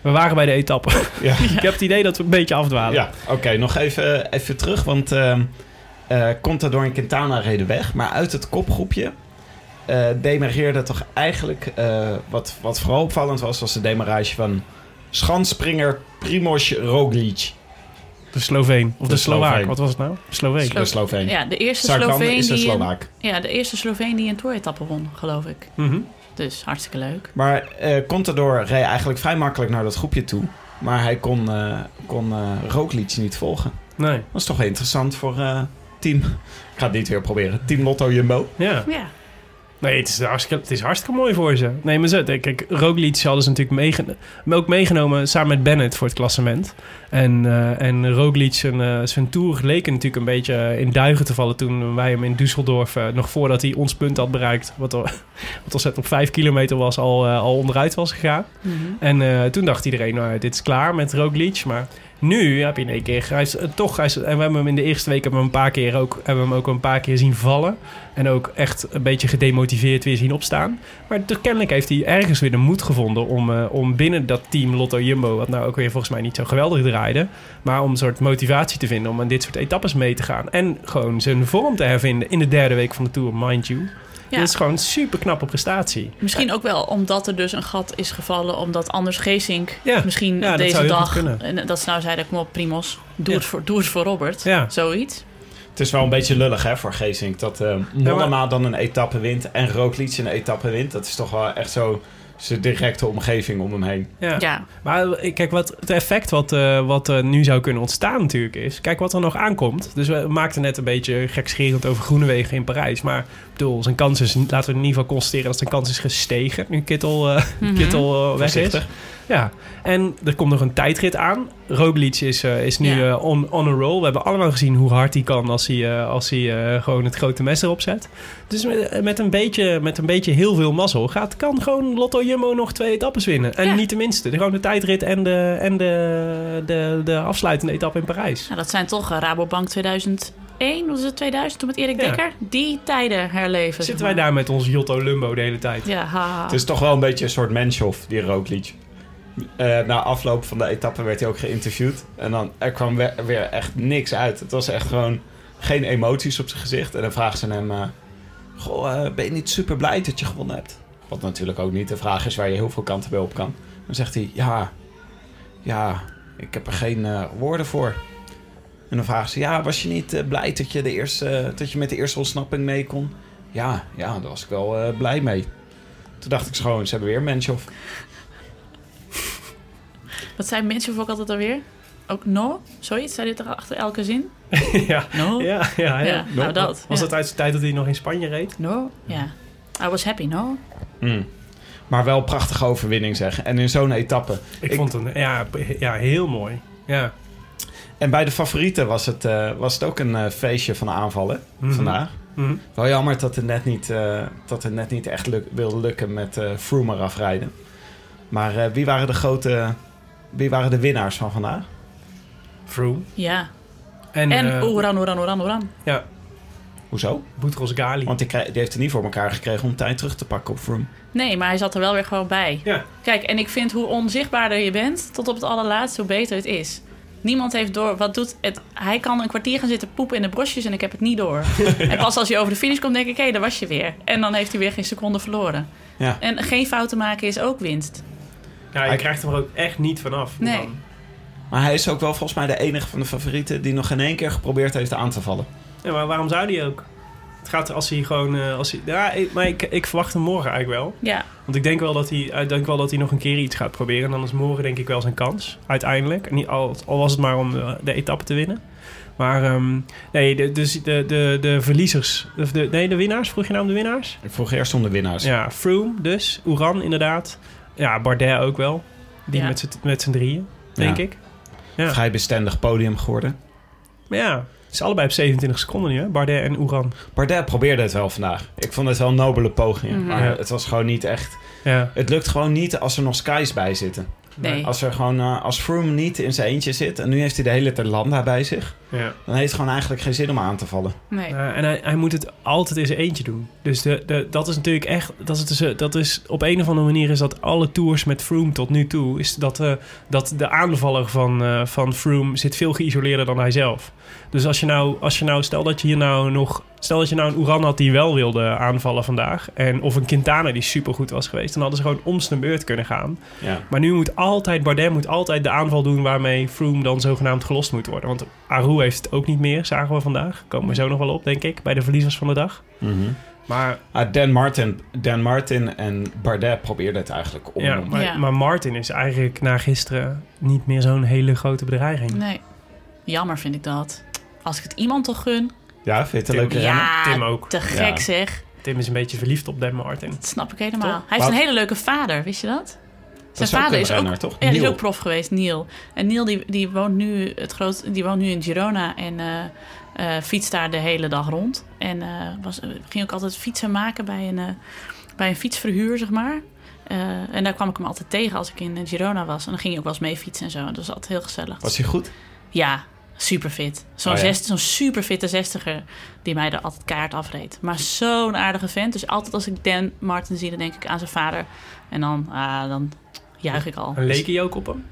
We waren bij de etappe. Ja. Ik heb het idee dat we een beetje afdwalen. Ja, oké. nog even, even terug, want eh, eh, Contador en Quintana reden weg. Maar uit het kopgroepje eh demareerde toch eigenlijk... eh, wat, wat vooral opvallend was, was de demarage van schanspringer Primoz Roglic. De Sloveen. Of de, De Slovaak. Sloveen. Wat was het nou? Sloveen. Slo- De Sloveen. Oh, ja de, eerste Sarkan Sloveen is een die een, Slovaak. ja, de eerste Sloveen die een toeretappe won, geloof ik. Mhm. Dus hartstikke leuk. Maar eh Contador reed eigenlijk vrij makkelijk naar dat groepje toe. Maar hij kon, eh kon eh, Roglic niet volgen. Nee. Dat is toch wel interessant voor eh, team... Ik ga het niet weer proberen. Team Lotto Jumbo. Ja. Ja, Nee, het is, hartstikke, het is hartstikke mooi voor ze. Nee, maar zo, kijk, Roglic hadden ze natuurlijk meegenomen, ook meegenomen samen met Bennett voor het klassement. En, eh en Roglic, zijn, eh, zijn tour leek natuurlijk een beetje in duigen te vallen toen wij hem in Düsseldorf, eh, nog voordat hij ons punt had bereikt, wat, al- wat al zet op vijf kilometer was, al, eh, al onderuit was gegaan. Mhm. En eh, toen dacht iedereen, nou, dit is klaar met Roglic, maar... Nu heb je in één keer, hij is, eh, toch, hij is, en we hebben hem in de eerste week hebben we hem een paar keer ook, hebben we hem ook een paar keer zien vallen. En ook echt een beetje gedemotiveerd weer zien opstaan. Maar toch kennelijk heeft hij ergens weer de moed gevonden om, eh, om binnen dat team Lotto Jumbo, wat nou ook weer volgens mij niet zo geweldig draaide, maar om een soort motivatie te vinden om aan dit soort etappes mee te gaan. En gewoon zijn vorm te hervinden in de derde week van de Tour, mind you. Ja. Dat is gewoon een super knappe prestatie. Misschien ook wel omdat er dus een gat is gevallen. Omdat Anders Geesink Ja, misschien ja, dat deze zou heel goed dag... kunnen. en Dat ze nou zeiden, kom op Primos, doe, Ja. het, voor, doe het voor Robert. Ja. Zoiets. Het is wel een beetje lullig hè, voor Geesink dat eh Mollema dan een etappe wint en Roglic een etappe wint. Dat is toch wel echt zo zijn directe omgeving om hem heen. Ja. Maar eh, kijk, wat, het effect wat, eh, wat eh, nu zou kunnen ontstaan natuurlijk is... Kijk wat er nog aankomt. Dus we maakten net een beetje gekscherend over Groenewegen in Parijs. Maar ik bedoel, zijn kans is... Laten we in ieder geval constateren dat zijn kans is gestegen. Nu Kittel, eh, Kittel eh, weg is. Voorzichtig. Ja, en er komt nog een tijdrit aan. Roglic is, eh, is nu Ja. eh, on, on a roll. We hebben allemaal gezien hoe hard hij kan als hij, eh, als hij eh, gewoon het grote mes erop zet. Dus met, met, een beetje, met een beetje heel veel mazzel gaat, kan gewoon Lotto Jumbo nog twee etappes winnen. En Ja. niet de minste. De, gewoon de tijdrit en, de, en de, de, de afsluitende etappe in Parijs. Nou, dat zijn toch eh, Rabobank 2001, was het 2000? Toen met Erik Ja. Dekker. Die tijden herleven. Zitten wij zeg maar. daar Dus- met ons Jotto Lumbo de hele tijd. Ja, haha. Het is toch wel een beetje een soort menshof, die Roglic. Eh, na afloop van de etappe werd hij ook geïnterviewd. En dan, er kwam we- weer, echt niks uit. Het was echt gewoon geen emoties op zijn gezicht. En dan vragen ze hem... eh, Goh, eh, ben je niet super blij dat je gewonnen hebt? Wat natuurlijk ook niet de vraag is waar je heel veel kanten bij op kan. Dan zegt hij, ja, ja, ik heb er geen eh, woorden voor. En dan vragen ze, ja, was je niet eh, blij dat je, de eerste, eh, dat je met de eerste ontsnapping mee kon? Ja, ja, daar was ik wel eh, blij mee. Toen dacht ik gewoon, ze hebben weer mensen of Wat zijn mensen voor ook altijd alweer? ook no? Zoiets, zei dit er achter elke zin? ja. No? Ja, ja, ja. Oh. Ja, nou No. dat, Was ja. dat uit de tijd dat hij nog in Spanje reed? No? Ja. I was happy, no? Maar wel een prachtige overwinning zeg. En in zo'n etappe. Ik, Ik- vond het ja, p- ja, heel mooi. Ja. En bij de favorieten was het, eh, was het ook een eh, feestje van aanvallen Mhm. vandaag. Mhm. Wel jammer dat het net niet, eh, dat het net niet echt luk, wilde lukken met eh Froome eraf rijden. Maar eh, wie waren de grote... Wie waren de winnaars van vandaag? Froome. Ja. En, En eh, Oran, Oran, Oran, Oran. ja, Hoezo? Boutros Ghali. Want die, krij- die heeft het niet voor elkaar gekregen om tijd terug te pakken op Froome. Nee, maar hij zat er wel weer gewoon bij. Ja. Kijk, en ik vind hoe onzichtbaarder je bent, tot op het allerlaatst, hoe beter het is. Niemand heeft door. Wat doet het? Hij kan een kwartier gaan zitten poepen in de brosjes en ik heb het niet door. En pas als hij over de finish komt, denk ik, hé, daar was je weer. En dan heeft hij weer geen seconde verloren. Ja. En geen fouten maken is ook winst. Ja, je Hij- krijgt hem er ook echt niet vanaf. Nee. Dan. Maar hij is ook wel volgens mij de enige van de favorieten die nog geen één keer geprobeerd heeft aan te vallen. Ja, maar waarom zou die ook? Het gaat als hij gewoon... eh, als hij, ja, ik- maar ik, ik verwacht hem morgen eigenlijk wel. Ja, Want ik denk, wel dat hij, ik denk wel dat hij nog een keer iets gaat proberen. En dan is morgen denk ik wel zijn kans. Uiteindelijk. Niet, al, al was het maar om de, de etappe te winnen. Maar ehm, nee, de, dus de, de, de verliezers... Of de, nee, de winnaars. Vroeg je nou om de winnaars? Ik vroeg eerst om de winnaars. Ja, Froome dus. Oeran inderdaad. Ja, Bardet ook wel. Die Ja. met z'n- met z'n drieën, denk Ja. ik. Ja. Vrij bestendig podium geworden. Maar ja, het is allebei op 27 seconden nu, hè? Bardet en Oeran. Bardet probeerde het wel vandaag. Ik vond het wel een nobele poging. Mhm. Maar Ja. het was gewoon niet echt... Ja. Het lukt gewoon niet als er nog skies bij zitten. nee. Als, er gewoon, eh, als Froome niet in zijn eentje zit... en nu heeft hij de hele Terlanda bij zich... ja. dan heeft het gewoon eigenlijk geen zin om aan te vallen. nee. Ja, Eh, en hij, hij moet het altijd in zijn eentje doen. Dus de, de, dat is natuurlijk echt. Dat is, dus, eh, dat is op een of andere manier is dat alle tours met Froome tot nu toe. Is dat, eh, dat de aanvaller van, eh, van Froome zit veel geïsoleerder dan hij zelf. Dus als je nou, als je nou stel dat je hier nou nog. Stel dat je nou een Oeran had die wel wilde aanvallen vandaag. En, of een Quintana die supergoed was geweest. Dan hadden ze gewoon om zijn beurt kunnen gaan. Ja. Maar nu moet altijd Bardet moet altijd de aanval doen waarmee Froome dan zogenaamd gelost moet worden. Want Aru heeft het ook niet meer, zagen we vandaag. Komen we zo nog wel op, denk ik, bij de verliezers van de dag. Maar, Ah, Dan, Martin, Dan Martin en Bardet probeerden het eigenlijk om. ja, maar, Ja. maar Martin is eigenlijk na gisteren niet meer zo'n hele grote bedreiging. Nee. Jammer vind ik dat. Als ik het iemand toch gun. Ja, vind je het een leuke renner? Ja, Tim ook. te gek Ja. zeg. Tim is een beetje verliefd op Dan Martin. Dat snap ik helemaal. Toch? Hij heeft een Wat? hele leuke vader, wist je dat? Zijn is ook vader een is renner, ook, toch? Ja, die is Neil. ook prof geweest, Neil. En Neil die, die woont nu het groot, die woont nu in Girona en eh, eh, fietst daar de hele dag rond. En eh, was, eh, ging ook altijd fietsen maken bij een, eh, bij een fietsverhuur, zeg maar. Eh, en daar kwam ik hem altijd tegen als ik in eh, Girona was. En dan ging hij ook wel eens mee fietsen en zo. En dat was altijd heel gezellig. Was hij goed? Ja, superfit. Zo'n Oh ja. zest- zo'n superfitte zestiger die mij er altijd kaart afreed. Maar zo'n aardige vent. Dus altijd als ik Dan Martin zie, dan denk ik aan zijn vader. En dan, ah, dan juich ik al. En leek hij ook op hem?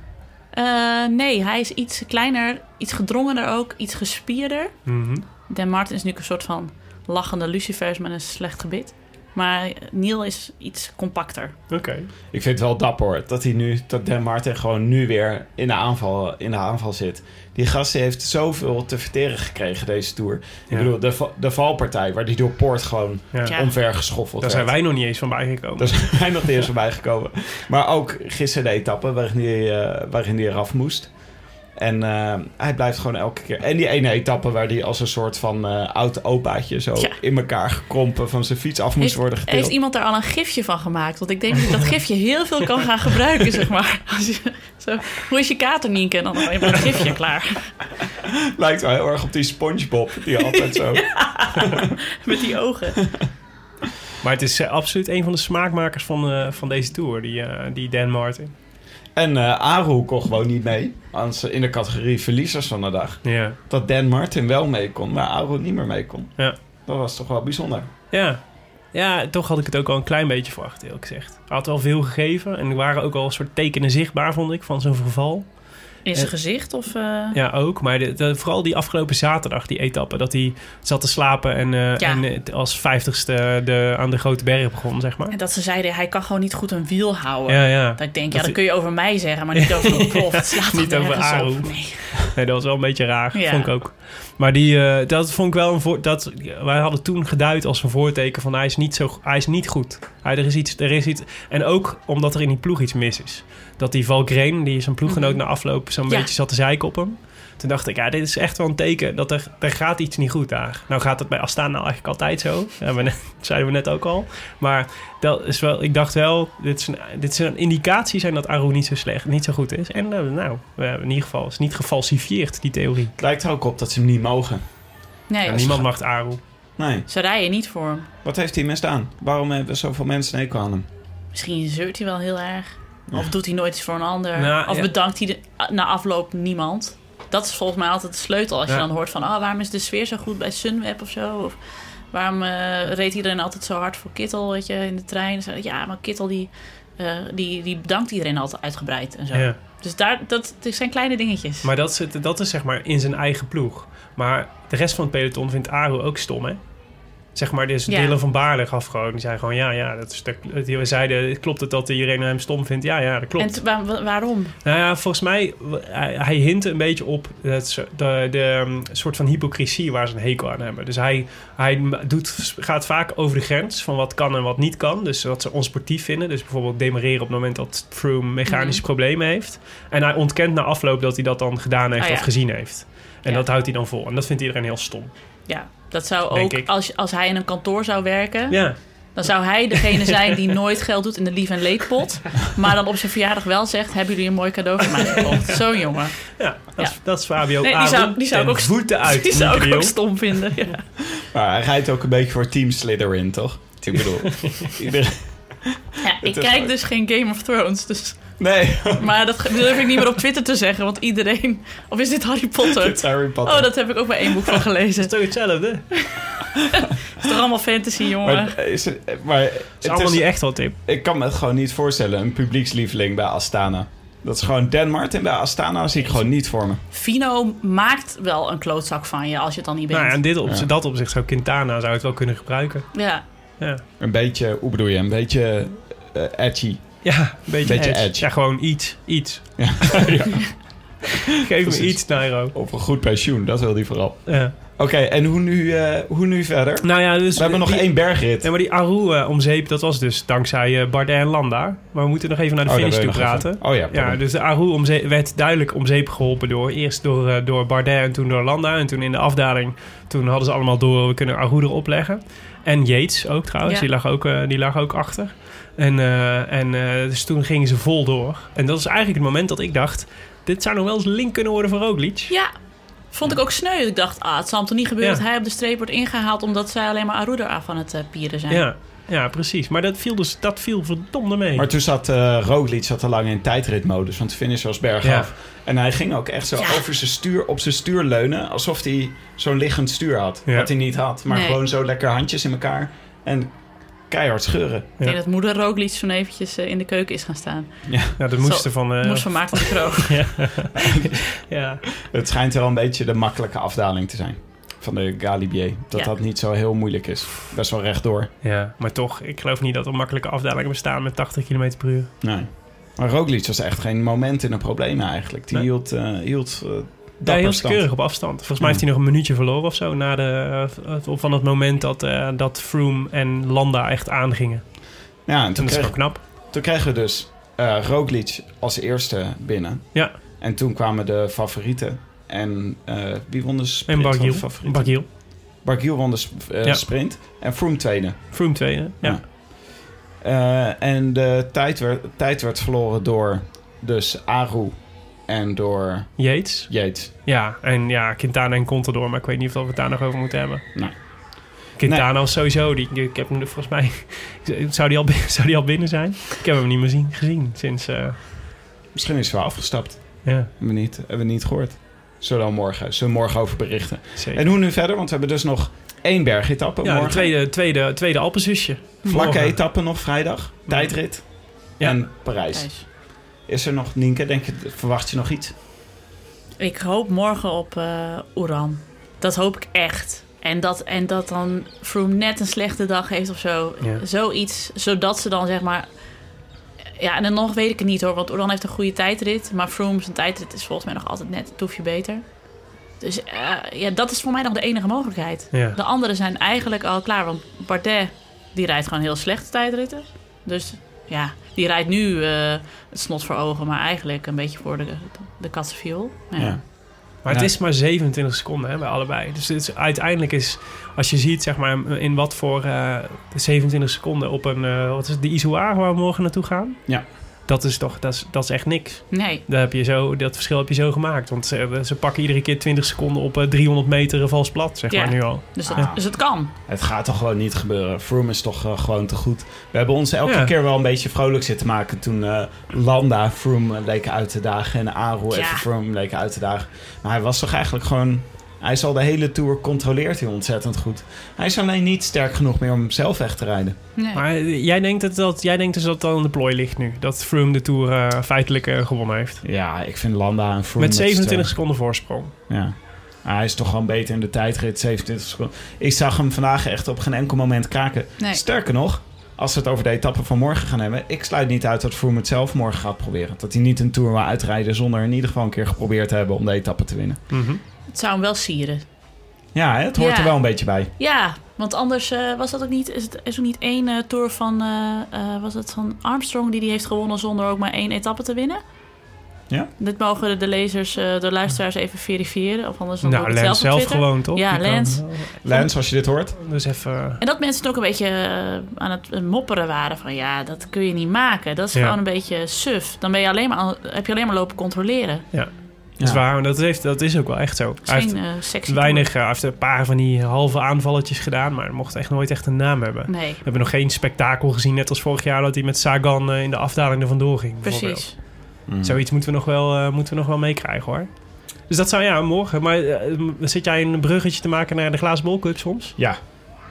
Eh, nee, hij is iets kleiner, iets gedrongener ook, iets gespierder. Mhm. Dan Martin is nu een soort van lachende lucifers met een slecht gebit. Maar Neil is iets compacter. Oké. Ik vind het wel dapper hoor, dat hij nu, dat Dan Martin gewoon nu weer in de aanval, in de aanval zit. Die gast die heeft zoveel te verteren gekregen deze tour. Ja. Ik bedoel, de, va- de valpartij waar die door Poort gewoon Ja. Ja. omver geschoffeld Daar werd. zijn wij nog niet eens van bijgekomen. Daar zijn wij nog niet eens voorbij gekomen. Maar ook gisteren de etappe waarin hij, eh, waarin hij eraf moest. En eh, hij blijft gewoon elke keer. En die ene etappe waar hij als een soort van eh, oud opaatje zo Ja. in elkaar gekrompen van zijn fiets af moest Heeft, worden getild. heeft iemand daar al een gifje van gemaakt? Want ik denk dat ik dat gifje heel veel kan gaan gebruiken, zeg maar. Als je, zo, hoe is je kater, Nienke? En dan heb je een gifje klaar. Lijkt wel heel erg op die SpongeBob die altijd zo. Met die ogen. Maar het is eh, absoluut een van de smaakmakers van, eh, van deze tour, die, eh, die Dan Martin. En eh Aru kon gewoon niet mee. Anders in de categorie verliezers van de dag. Ja. Dat Dan Martin wel mee kon, maar Aru niet meer mee kon. Ja. Dat was toch wel bijzonder. Ja. ja, toch had ik het ook al een klein beetje verwacht, eerlijk gezegd. Hij had wel veel gegeven en er waren ook al een soort tekenen zichtbaar, vond ik, van zo'n verval. In zijn gezicht of... eh, Ja, ook. Maar de, de- vooral die afgelopen zaterdag, die etappe, dat hij zat te slapen en, eh, Ja. en eh, als vijftigste de, aan de grote berg begon, zeg maar. En dat ze zeiden, hij kan gewoon niet goed een wiel houden. Ja, ja. Dat ik denk, Dat ja, dat die- kun je over mij zeggen, maar niet over een prof. Het slaat Niet toch over nergens Aro. op? Nee. Nee, dat was wel een beetje raar, Ja. vond ik ook. Maar die, eh, dat vond ik wel een voor, dat Wij hadden toen geduid als een voorteken van hij is niet, zo, hij is niet goed. Hij, er, is iets, er is iets. En ook omdat er in die ploeg iets mis is. Dat die Valkrein, die zijn ploeggenoot na afloop zo'n Ja. beetje zat te zeiken op hem. Toen dacht ik, ja, dit is echt wel een teken dat er, er gaat iets niet goed daar. Nou gaat dat bij Astana eigenlijk altijd zo. Dat hebben we net- zeiden we net ook al. Maar dat is wel, ik dacht wel, dit is een, dit is een indicatie zijn dat Aru niet zo slecht, niet zo goed is. En eh, nou, we hebben in ieder geval het is niet gefalsifieerd, die theorie. Het lijkt er ook op dat ze hem niet mogen. Nee, niemand mag Aru. Nee. ze rijden niet voor hem. Wat heeft hij misdaan? Waarom hebben zoveel mensen een hekel aan hem? Misschien zeurt hij wel heel erg. Of doet hij nooit iets voor een ander. Nou, of ja. bedankt hij de, na afloop niemand. Dat is volgens mij altijd de sleutel. Als Ja. je dan hoort van... Oh, waarom is de sfeer zo goed bij Sunweb of zo? Of waarom eh, reed iedereen altijd zo hard voor Kittel weet je, in de trein? Zo, Ja, maar Kittel die, eh, die, die bedankt iedereen altijd uitgebreid en zo. Ja. Dus daar, dat, het zijn kleine dingetjes. Maar dat, zit- dat is zeg maar in zijn eigen ploeg. Maar de rest van het peloton vindt Aru ook stom, hè? Zeg maar, dus Ja. Dylan van Baarle gaf gewoon... Die zei gewoon, ja, ja, dat is... dat- Die zeiden, klopt het dat iedereen hem stom vindt? Ja, ja, dat klopt. en t- waar- wa- waarom? Nou ja, volgens mij, w- hij, hij hint een beetje op het, zo- de, de um, soort van hypocrisie waar ze een hekel aan hebben. Dus hij, hij m- doet, gaat vaak over de grens van wat kan en wat niet kan. Dus wat ze onsportief vinden. Dus bijvoorbeeld demareren op het moment dat Froome mechanische Mhm. problemen heeft. En hij ontkent na afloop dat hij dat dan gedaan heeft Ah, ja. of gezien heeft. En Ja. dat houdt hij dan vol. En dat vindt iedereen heel stom. Ja, dat zou Denk ook... ik. Als, als hij in een kantoor zou werken... Ja, Dan zou hij degene zijn die nooit geld doet in de lief- en leedpot. Maar dan op zijn verjaardag wel zegt: Hebben jullie een mooi cadeau voor mij gekocht? Zo'n jongen. ja, dat, Is, Ja. dat is Fabio Nee, die Aru. zou, die zou ik Ten ook st- voeten uit. Die zou ik Michiel. ook stom vinden. Ja. Maar hij rijdt ook een beetje voor Team Slytherin, toch? Ik bedoel, iedereen... Ja, ik is kijk leuk. dus geen Game of Thrones. Dus, Nee, maar dat ge- durf ik niet meer op Twitter te zeggen, want iedereen. Of is dit Harry Potter? het is Harry Potter. Oh, dat heb ik ook bij één boek van gelezen. Het Dat is toch hetzelfde? Het is toch allemaal fantasy, jongen. maar, is het, maar het is allemaal niet echt wat, Tim. ik kan me het gewoon niet voorstellen, een publiekslieveling bij Astana. Dat is gewoon Dan Martin bij Astana, zie ik gewoon niet voor me. Fino maakt wel een klootzak van je als je het dan niet bent. Nou ja, in dit opzicht, Ja. dat opzicht zou Quintana zou het wel kunnen gebruiken. ja. Ja. Een beetje, hoe bedoel je, een beetje eh, edgy. Ja, een beetje, Beetje edge. edge. Ja, gewoon iets. Iets. Ja. Geef me Precies. iets, Nairo. Op een goed pensioen, dat wil hij vooral. Ja. Oké, en hoe nu, eh, hoe nu verder? Nou ja, dus... We hebben nog die- één bergrit. Nee, maar die Aru eh, omzeep, dat was dus dankzij eh, Bardet en Landa. Maar we moeten nog even naar de Oh, daar finish wil toe je nog praten. even- Oh ja, Ja, pardon. dus de Aru omze- werd duidelijk om zeep geholpen door... Eerst door, eh, door Bardet en toen door Landa. En toen in de afdaling, toen hadden ze allemaal door... we kunnen Aru erop leggen. En Yates ook trouwens, Ja. die, lag ook, eh, die lag ook achter. En, eh, en eh, dus toen gingen ze vol door. En dat is eigenlijk het moment dat ik dacht... dit zou nog wel eens link kunnen worden voor Roglic. ja. Vond ik ook sneu. Ik dacht, ah, het zal hem toch niet gebeuren Ja. dat hij op de streep wordt ingehaald... omdat zij alleen maar Aruda af aan het eh, pieren zijn. Ja, ja precies. Maar dat viel, dus, dat viel verdomde mee. Maar toen zat eh Roglic zat te lang in tijdritmodus, want de finish was bergaf. Ja. En hij ging ook echt zo Ja. over zijn stuur, op zijn stuur leunen, alsof hij zo'n liggend stuur had. Ja. Wat hij niet had, maar Nee. gewoon zo lekker handjes in elkaar en keihard scheuren. Ik denk dat moeder Roglic toen eventjes eh, in de keuken is gaan staan. ja, de moesten van... eh, Moest van Maarten de Kroog. ja. Het schijnt wel een beetje de makkelijke afdaling te zijn van de Galibier. Dat Ja. dat niet zo heel moeilijk is. Best wel rechtdoor. ja, maar toch, ik geloof niet dat er makkelijke afdalingen bestaan met 80 km per uur. Nee. Maar Roglic was echt geen moment in een probleem eigenlijk. Die Nee. hield, eh hield eh, Daar dapper heel stand. keurig op afstand. Volgens mij heeft hij nog een minuutje verloren of zo... Na de, eh, van het moment dat, eh, dat Froome en Landa echt aangingen. Ja, En en toen dat is kreeg, gewoon knap. Toen kregen we dus eh Roglic als eerste binnen. Ja. En toen kwamen de favorieten. En eh, wie won de sprint? En van de Bargiel. favorieten? Bargiel. Bargiel won de sp- eh, Ja. sprint. En Froome tweede. Froome tweede. Ja. Ja. Eh, en de tijd werd, tijd werd verloren door dus Aru en door Yates. Yates. Ja, en ja, Quintana en Contador. Maar ik weet niet of we het daar nog over moeten hebben. Nee. Quintana was sowieso. Die, die- ik heb hem er volgens mij... Zou die, al, bin- zou die al binnen zijn? Ik heb hem niet meer zien, gezien sinds... eh, Misschien is hij wel afgestapt. ja, Hebben we niet, hebben we niet gehoord. Zullen we morgen, zullen we morgen over berichten. zeker. En hoe nu verder? Want we hebben dus nog één bergetappe ja, de morgen. tweede, tweede, tweede Alpenzusje. Vlakke Morgen. etappe nog vrijdag. Tijdrit. Ja. En Parijs. Thijs. Is er nog, Nienke, denk je, verwacht je nog iets? Ik hoop morgen op eh Oeran. Dat hoop ik echt. En dat, en dat dan Froome net een slechte dag heeft of zo. Ja. Zoiets, zodat ze dan zeg maar... Ja, en dan nog weet ik het niet hoor. Want Oeran heeft een goede tijdrit. Maar Froome zijn tijdrit is volgens mij nog altijd net een toefje beter. Dus eh, ja, dat is voor mij nog de enige mogelijkheid. Ja. De anderen zijn eigenlijk al klaar. Want Bardet, die rijdt gewoon heel slechte tijdritten. Dus ja, die rijdt nu eh, het snot voor ogen. Maar eigenlijk een beetje voor de, de kattenviool. Ja. Ja. Maar het Ja. is maar 27 seconden hè, bij allebei. Dus het is, uiteindelijk is, als je ziet zeg maar, in wat voor eh, 27 seconden op een, eh, wat is het, de Izoar waar we morgen naartoe gaan. Ja. Dat is toch, dat is, dat is echt niks. Nee, Daar heb je zo, dat verschil heb je zo gemaakt. Want ze, ze pakken iedere keer 20 seconden op eh, 300 meter vals plat, zeg Ja. maar nu al. dus, Ah. dat, dus het kan. Het gaat toch gewoon niet gebeuren. Froome is toch eh, gewoon te goed. We hebben ons elke Ja. keer wel een beetje vrolijk zitten maken toen eh, Landa Froome eh, leek uit te dagen en Aru Ja. even Froome leek uit te dagen. Maar hij was toch eigenlijk gewoon. Hij is al de hele tour controleert hij ontzettend goed. Hij is alleen niet sterk genoeg meer om zelf weg te rijden. Nee. Maar eh, jij denkt, dat, dat, jij denkt dus dat dat aan de plooi ligt nu. Dat Froome de Tour eh, feitelijk eh, gewonnen heeft. Ja, ik vind Landa en Froome. Met z'n 27 tweeën- seconden voorsprong. Ja. Maar hij is toch gewoon beter in de tijdrit, 27 seconden. Ik zag hem vandaag echt op geen enkel moment kraken. Nee. Sterker nog, als we het over de etappe van morgen gaan hebben... ik sluit niet uit dat Froome het zelf morgen gaat proberen. Dat hij niet een Tour wil uitrijden zonder in ieder geval een keer geprobeerd te hebben... om de etappe te winnen. Mhm. Het zou hem wel sieren. Ja, hè, het hoort Ja. er wel een beetje bij. Ja, want anders eh, was dat ook niet. Is, het, is er niet één eh, tour van. eh, eh, was het van Armstrong die die heeft gewonnen zonder ook maar één etappe te winnen? Ja. Dit mogen de, de lezers, eh, de luisteraars even verifiëren. Of anders dan doe Nou, ik het Lens zelf, op zelf Twitter. gewoon, toch? Ja, Die kan, Lens. Lens, als je dit hoort... eh, Dus even... eh, En dat mensen het ook een beetje eh, aan het eh, mopperen waren van ja, dat kun je niet maken. Dat is Ja. gewoon een beetje suf. Dan ben je alleen maar, aan- heb je alleen maar lopen controleren. Dat is Ja. waar, maar dat, heeft, dat is ook wel echt zo. Dat is Hij heeft geen eh, sexy weinig, eh, hij heeft een paar van die halve aanvalletjes gedaan, maar mocht echt nooit echt een naam hebben. tour. Nee, We hebben nog geen spektakel gezien, net als vorig jaar dat hij met Sagan eh, in de afdaling er vandoor ging. bijvoorbeeld. precies. Mm. Zoiets moeten we nog wel, eh, moeten we nog wel meekrijgen hoor. Dus dat zou ja, morgen. Maar eh, m- zit jij een bruggetje te maken naar de glazen bol cup soms? Ja,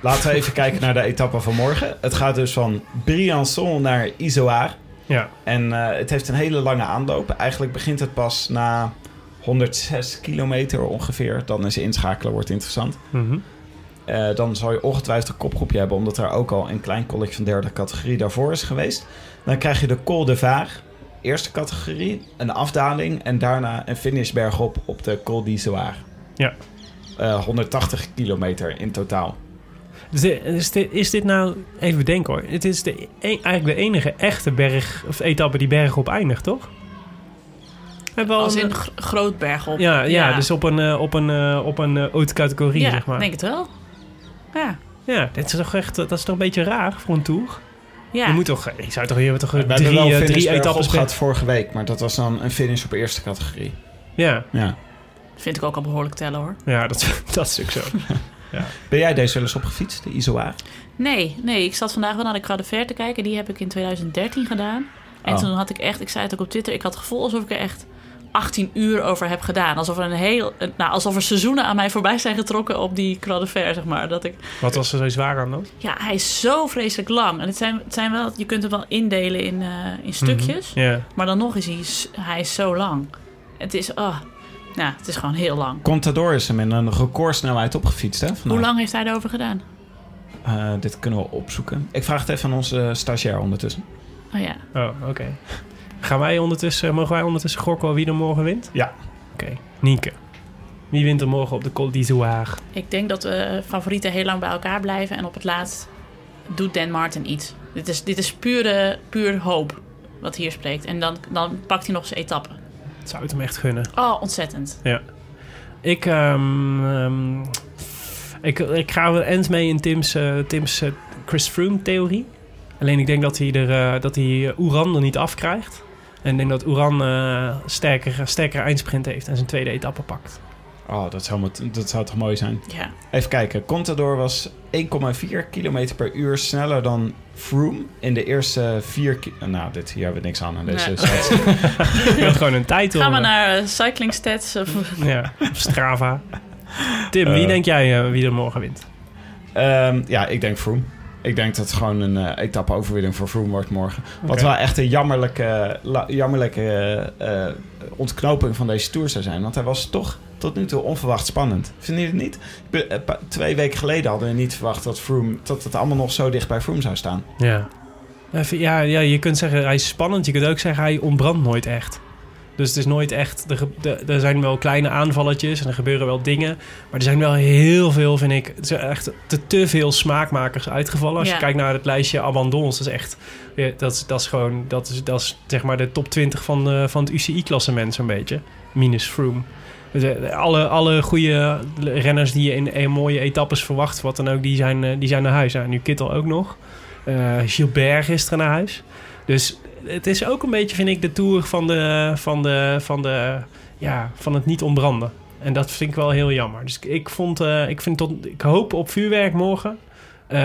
laten we even kijken naar de etappe van morgen. Het gaat dus van Briançon naar Izoar. Ja. En eh, het heeft een hele lange aanloop. Eigenlijk begint het pas na 106 kilometer ongeveer. Dan is inschakelen wordt interessant. Mhm. Eh, dan zal je ongetwijfeld een kopgroepje hebben, omdat er ook al een klein college van derde categorie daarvoor is geweest. Dan krijg je de Col de Vaar, eerste categorie, een afdaling en daarna een finish bergop op de Col d'Izoar. Ja. Eh, 180 kilometer in totaal. Dus dit- is, dit, is dit nou, even bedenken hoor, het is de, e- eigenlijk de enige echte berg, of etappe die berg op eindigt, toch? We hebben al Als een- in gro- Grootberg op. Ja, ja, dus op een, eh, op een, eh, op een eh, haute categorie, ja, zeg maar. denk het wel. Ja, Ja, dit is toch echt, dat is toch een beetje raar voor een tour? ja. Je moet toch, ik zou toch hier toch eh, We drie, hebben wel eh, een finish drie bergop etappes gehad vorige week, maar dat was dan een finish op eerste categorie. Ja, Ja. vind ik ook al behoorlijk tellen hoor. ja dat, dat is ook zo. Ben jij deze wel eens opgefietst, de Izoar? Nee, nee, ik zat vandaag wel naar de Croix de Ver te kijken. Die heb ik in 2013 gedaan. En Oh. toen had ik echt, ik zei het ook op Twitter, ik had het gevoel alsof ik er echt 18 uur over heb gedaan. Alsof er, een heel, een- nou, alsof er seizoenen aan mij voorbij zijn getrokken op die Croix de Ver, zeg maar. Dat ik, Wat was er zo zwaar aan dan? ja, hij is zo vreselijk lang. En het zijn, het zijn wel, je kunt hem wel indelen in, eh, in stukjes. Mhm. Ja. Maar dan nog is hij, s- hij is zo lang. Het is, oh, nou, het is gewoon heel lang. Contador is hem in een recordsnelheid opgefietst, hè? vandaag. Hoe lang heeft hij erover gedaan? Eh, dit kunnen we opzoeken. Ik vraag het even aan onze eh, stagiair ondertussen. Oh ja. Oh, oké. Gaan wij ondertussen, eh, mogen wij ondertussen gokken wie er morgen wint? Ja. Oké, Nienke. Wie wint er morgen op de Col d'Izoire? Ik denk dat de favorieten heel lang bij elkaar blijven. En op het laatst doet Dan Martin iets. Dit is, dit is pure, puur hoop wat hier spreekt. En dan, dan pakt hij nog zijn etappe. Zou het hem echt gunnen? Oh, ontzettend. Ik, ehm, ehm, ik, ik ga wel eens mee in Tim's, eh, Tim's eh, Chris Froome-theorie. Alleen ik denk dat hij, er, eh, dat hij Oeran er niet afkrijgt. En ik denk dat Oeran eh sterker, sterker eindsprint heeft en zijn tweede etappe pakt. Oh, dat zou, met- dat zou toch mooi zijn? Ja. Even kijken. Contador was 1,4 km per uur sneller dan Froome in de eerste vier... ki- nou, dit, hier hebben we niks aan aan deze dus. Nee. statistiek. Ik wil gewoon een tijd Gaan we naar eh, cycling stats? Of, Ja, of Strava. Tim, wie Eh. denk jij eh, wie er morgen wint? Ehm, ja, ik denk Froome. Ik denk dat het gewoon een eh, etappe-overwinning voor Froome wordt morgen. Wat Oké. wel echt een jammerlijke, la- jammerlijke eh, eh, ontknoping van deze Tour zou zijn. Want hij was toch tot nu toe onverwacht spannend. Vinden jullie het niet? Ik ben- eh, pa- Twee weken geleden hadden we niet verwacht dat, Froome, dat het allemaal nog zo dicht bij Froome zou staan. Ja. Even- ja, ja, je kunt zeggen hij is spannend. Je kunt ook zeggen hij ontbrandt nooit echt. Dus het is nooit echt... Er, ge- er- er zijn wel kleine aanvalletjes en er gebeuren wel dingen. Maar er zijn wel heel veel, vind ik... er zijn echt te, te veel smaakmakers uitgevallen. Als Ja. je kijkt naar het lijstje abandons. Dat is echt... ja, Dat is, dat is gewoon... Dat is, dat is zeg maar de top 20 van, eh, van het UCI-klassement zo'n beetje. minus Froome. Dus, eh, alle, alle goede renners die je in, eh, mooie etappes verwacht, wat dan ook, die zijn, eh, die zijn naar huis. Nou, nu Kittel ook nog. Eh, Gilbert gisteren naar huis. Dus het is ook een beetje, vind ik, de tour van, de, van, de, van, de, ja, van het niet ontbranden. En dat vind ik wel heel jammer. Dus ik, ik vond, eh, ik, vind tot, ik hoop op vuurwerk morgen. Eh,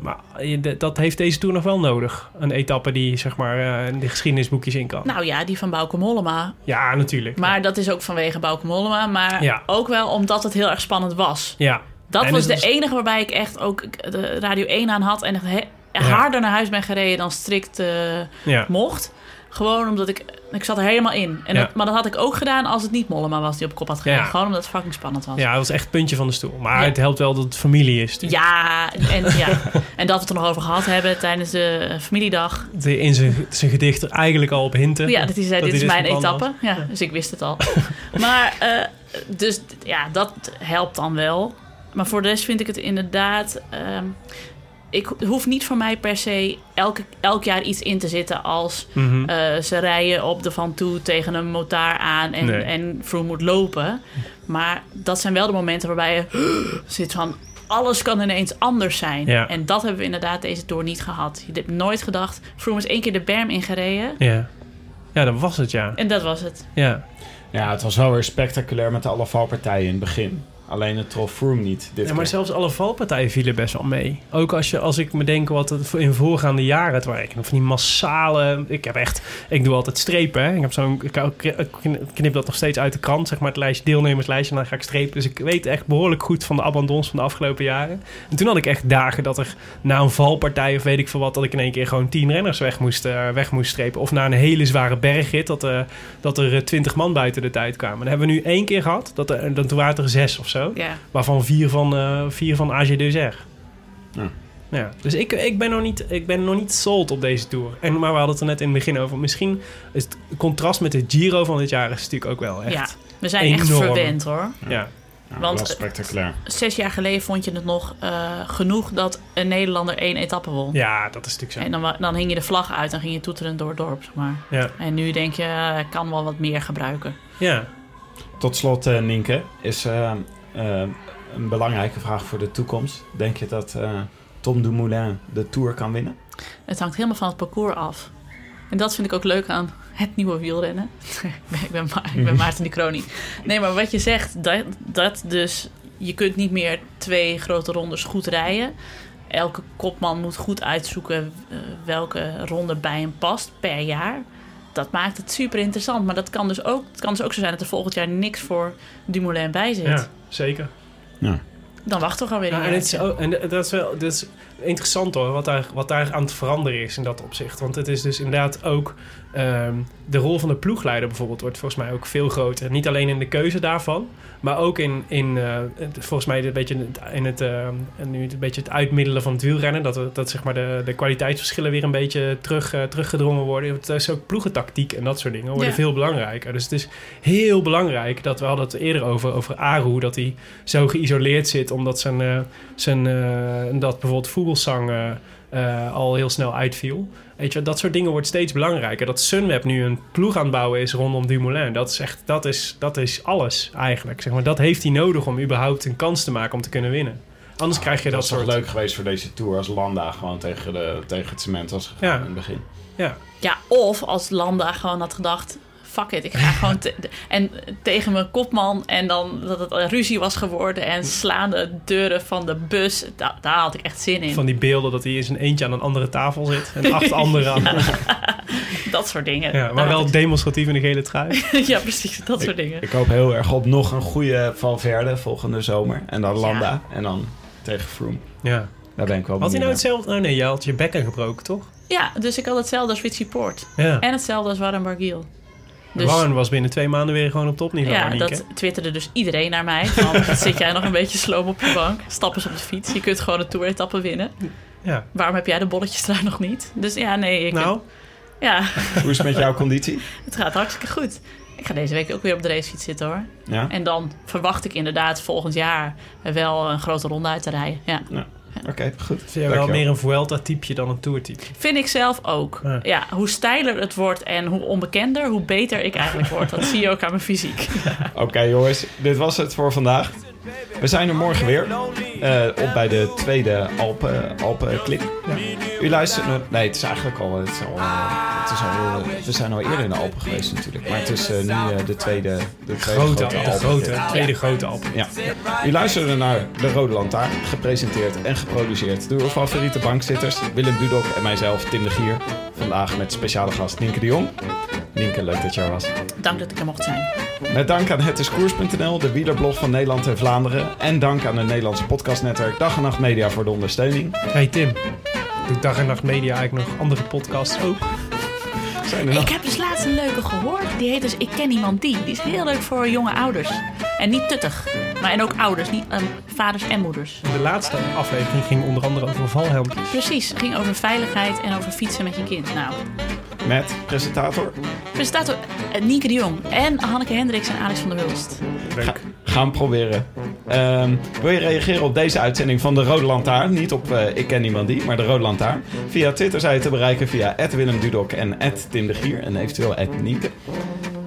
maar je- de- dat heeft deze tour nog wel nodig. Een etappe die zeg maar, eh, in de geschiedenisboekjes in kan. Nou ja, die van Bauke Mollema. ja, natuurlijk. Maar dat is ook vanwege Bauke Mollema. Maar Ja. ook wel omdat het heel erg spannend was. ja. Dat En was het de is- enige waarbij ik echt ook de Radio 1 aan had. En echt he- Ja. harder naar huis ben gereden dan strikt eh, Ja. mocht. Gewoon omdat ik... Ik zat er helemaal in. En Ja. dat- maar dat had ik ook gedaan als het niet Mollema was die op kop had gereden. Ja. Gewoon omdat het fucking spannend was. ja, dat was echt het puntje van de stoel. Maar Ja. het helpt wel dat het familie is. Ja, en, ja. en dat we het er nog over gehad hebben tijdens de eh, familiedag. Die in zijn, zijn gedicht er eigenlijk al op hinten. Ja, dat hij zei, hij dit is mijn van plan etappe. Ja, dus ik wist het al. maar, eh, dus d- ja, dat helpt dan wel. Maar voor de rest vind ik het inderdaad... ehm, ik ho- hoef niet voor mij per se elke, elk jaar iets in te zitten als... was. Mhm. eh, ze rijden op de Van Toe tegen een motaar aan en, Nee. en Froome moet lopen. Maar dat zijn wel de momenten waarbij je zit van... Alles kan ineens anders zijn. Ja. En dat hebben we inderdaad deze tour niet gehad. Je hebt nooit gedacht... Froome is één keer de berm ingereden. ja. ja, dat was het, ja. En dat was het. ja. Ja, het was wel weer spectaculair met alle valpartijen in het begin. Alleen het trof Froome niet. Dit Ja, keer. maar zelfs alle valpartijen vielen best wel mee. Ook als, je, als ik me denk wat het in voorgaande jaren het waren. Van die massale... Ik heb echt... Ik doe altijd strepen, hè. Ik, heb zo'n, ik hou- ik knip dat nog steeds uit de krant, zeg maar, het lijstje, deelnemerslijstje. En dan ga ik strepen. Dus ik weet echt behoorlijk goed van de abandons van de afgelopen jaren. En toen had ik echt dagen dat er na een valpartij of weet ik veel wat... dat ik in één keer gewoon tien renners weg moest, eh, weg moest strepen. Of na een hele zware bergrit dat, eh, dat er twintig man buiten de tijd kwamen. Dat hebben we nu één keer gehad. Dat er, dan, toen waren het er zes of zo. Ja. Waarvan vier van, eh vier van AG Dezer. Ja. Ja, dus ik, ik, ben nog niet, ik ben nog niet sold op deze Tour. En, maar we hadden het er net in het begin over. Misschien is het contrast met de Giro van dit jaar is natuurlijk ook wel echt. Ja, we zijn echt enorm. verwend hoor. ja. Ja, want- Nou, wel spectaculair. Zes jaar geleden vond je het nog eh, genoeg dat een Nederlander één etappe won. Ja, dat is natuurlijk En zo. dan, wa- dan hing je de vlag uit en ging je toeteren door het dorp. Zeg maar. Ja. En nu denk je, eh, ik kan wel wat meer gebruiken. Ja. Tot slot, eh, Nienke, is eh, eh, een belangrijke vraag voor de toekomst. Denk je dat eh, Tom Dumoulin de Tour kan winnen? Het hangt helemaal van het parcours af. En dat vind ik ook leuk aan het nieuwe wielrennen. ik, ben Ma- Mhm. ik ben Maarten de Kroning. Nee, maar wat je zegt, dat, dat dus... Je kunt niet meer twee grote rondes goed rijden. Elke kopman moet goed uitzoeken eh, welke ronde bij hem past per jaar. Dat maakt het super interessant. Maar dat kan dus ook, het kan dus ook zo zijn dat er volgend jaar niks voor Dumoulin bij zit. ja, zeker. Dan wachten we gewoon weer een Ja, en, het jaartje. is, ook- en dat is wel dat is interessant hoor, wat daar, wat daar aan het veranderen is in dat opzicht. Want het is dus inderdaad ook ehm, de rol van de ploegleider bijvoorbeeld wordt volgens mij ook veel groter. Niet alleen in de keuze daarvan, maar ook in, in eh, het- volgens mij een beetje in het, in het, ehm, en nu een beetje het uitmiddelen van het wielrennen. Dat, we- dat zeg maar de, de kwaliteitsverschillen weer een beetje terug, eh, teruggedrongen worden. Het is ook ploegentactiek en dat soort dingen worden Ja. veel belangrijker. Dus het is heel belangrijk dat we hadden het eerder over, over Aru, dat hij zo geïsoleerd zit omdat zijn, eh, zijn, eh, dat bijvoorbeeld vogelzang eh, eh, al heel snel uitviel. Weet je, dat soort dingen wordt steeds belangrijker. Dat Sunweb nu een ploeg aan het bouwen is rondom Dumoulin, dat is, echt, dat is, dat is alles eigenlijk. Zeg maar, dat heeft hij nodig om überhaupt een kans te maken om te kunnen winnen. Anders krijg je dat, dat is toch soort... leuk geweest voor deze Tour als Landa gewoon tegen, de, tegen het cement was gegaan Ja. in het begin. Ja, Ja, of als Landa gewoon had gedacht... Fuck it, ik ga gewoon te- de- en tegen mijn kopman en dan dat het een ruzie was geworden en slaande deuren van de bus. Da- daar had ik echt zin in. van die beelden dat hij in zijn eentje aan een andere tafel zit en acht anderen aan... Ja, Dat soort dingen. maar Daar wel had demonstratief in de gele trui. ik- ja, precies, dat soort dingen. Ik hoop heel erg op nog een goede Valverde volgende zomer. En dan Landa. En dan tegen Froome. Ja. Daar ben ik wel Had hij nou benieuwd hetzelfde? Oh nee, jij had je bekken gebroken, toch? Ja, dus ik had hetzelfde als Richie Poort. Ja. En hetzelfde als Warren Bargiel. Dus Warren was binnen twee maanden weer gewoon op topniveau. ja, Aniek, hè? dat twitterde dus iedereen naar mij. Van, zit jij nog een beetje sloom op je bank? Stap eens op de fiets. Je kunt gewoon een toeretappe winnen. ja. Waarom heb jij de bolletjes daar nog niet? Dus ja, nee. Ik, Nou, Ja, naar. Hoe is het met jouw conditie? Het gaat hartstikke goed. Ik ga deze week ook weer op de racefiets zitten hoor. Ja? En dan verwacht ik inderdaad volgend jaar wel een grote ronde uit te rijden. Ja. Oké, goed. Vind jij wel Dankjewel. meer een Vuelta-typeje dan een Tour-type? Vind ik zelf ook. Ja. Ja. hoe steiler het wordt en hoe onbekender, hoe beter ik eigenlijk word. Dat zie je ook aan mijn fysiek. Oké jongens, dit was het voor vandaag. We zijn er morgen weer. eh, op bij de tweede eh, Alpen, Alpenklik. U luistert nog... Nee, het is eigenlijk al... Het is al, eh, het is al eh, we zijn al eerder in de Alpen geweest natuurlijk. Maar het is eh, nu eh, de tweede, de tweede Grote, grote de grote, Alpenklik. tweede grote Alpen. Ja. U luisterde naar De Rode Lantaarn, gepresenteerd en geproduceerd door uw favoriete bankzitters Willem Dudok en mijzelf, Tim de Gier. Vandaag met speciale gast Nienke de Jong. Nienke, leuk dat je er was. Dank dat ik er mocht zijn. Met dank aan hetiskoers.nl, de wielerblog van Nederland en Vlaanderen. En dank aan het Nederlandse podcastnetwerk Dag en Nacht Media voor de ondersteuning. Hey Tim, doet Dag en Nacht Media eigenlijk nog andere podcasts ook? Zijn er nog? Ik heb dus laatst een leuke gehoord. Die heet dus Ik ken iemand die. Die is heel leuk voor jonge ouders. En niet tuttig. Maar en ook ouders, niet ehm, vaders en moeders. De laatste aflevering ging onder andere over valhelmpjes. Precies, het ging over veiligheid en over fietsen met je kind. Nou, Met presentator. presentator eh, Nienke de Jong en Hanneke Hendricks en Alex van der Hulst. Leuk. Gaan proberen. Ehm, wil je reageren op deze uitzending van De Rode Lantaarn? Niet op eh, Ik ken niemand die, maar De Rode Lantaarn. Via Twitter zijn je te bereiken via Willem Dudok en Tim de Gier en eventueel Nienke.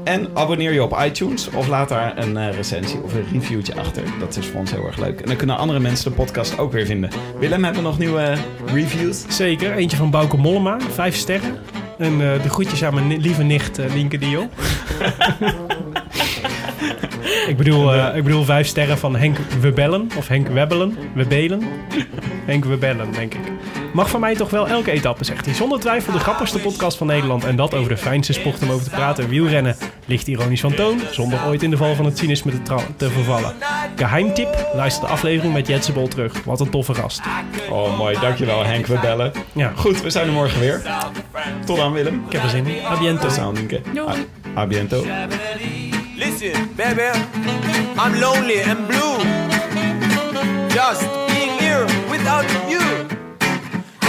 En abonneer je op iTunes of laat daar een eh, recensie of een reviewtje achter. Dat is voor ons heel erg leuk. En dan kunnen andere mensen de podcast ook weer vinden. Willem, hebben we nog nieuwe eh, reviews? Zeker, eentje van Bouke Mollema, vijf sterren. En eh, de groetjes aan mijn ni- lieve nicht eh Linke de Jong. ik, bedoel, eh, ik bedoel vijf sterren van Henk Webellen. Of Henk Webbelen. Webelen. Henk Webellen, denk ik. Mag van mij toch wel elke etappe, zegt hij. Zonder twijfel de grappigste podcast van Nederland. En dat over de fijnste sport om over te praten. Wielrennen. Licht ironisch van toon. Zonder ooit in de val van het cynisme te, tra- te vervallen. Geheimtip. Luister de aflevering met Jetse Bol terug. Wat een toffe gast. Oh, mooi. Dankjewel, Henk. We bellen. Ja, Goed, we zijn er morgen weer. Tot dan, Willem. ik heb er zin in. A bientôt. Tot dan, Nienke. Doei. A, a biento. Listen, baby, I'm lonely and blue. Just being here without you.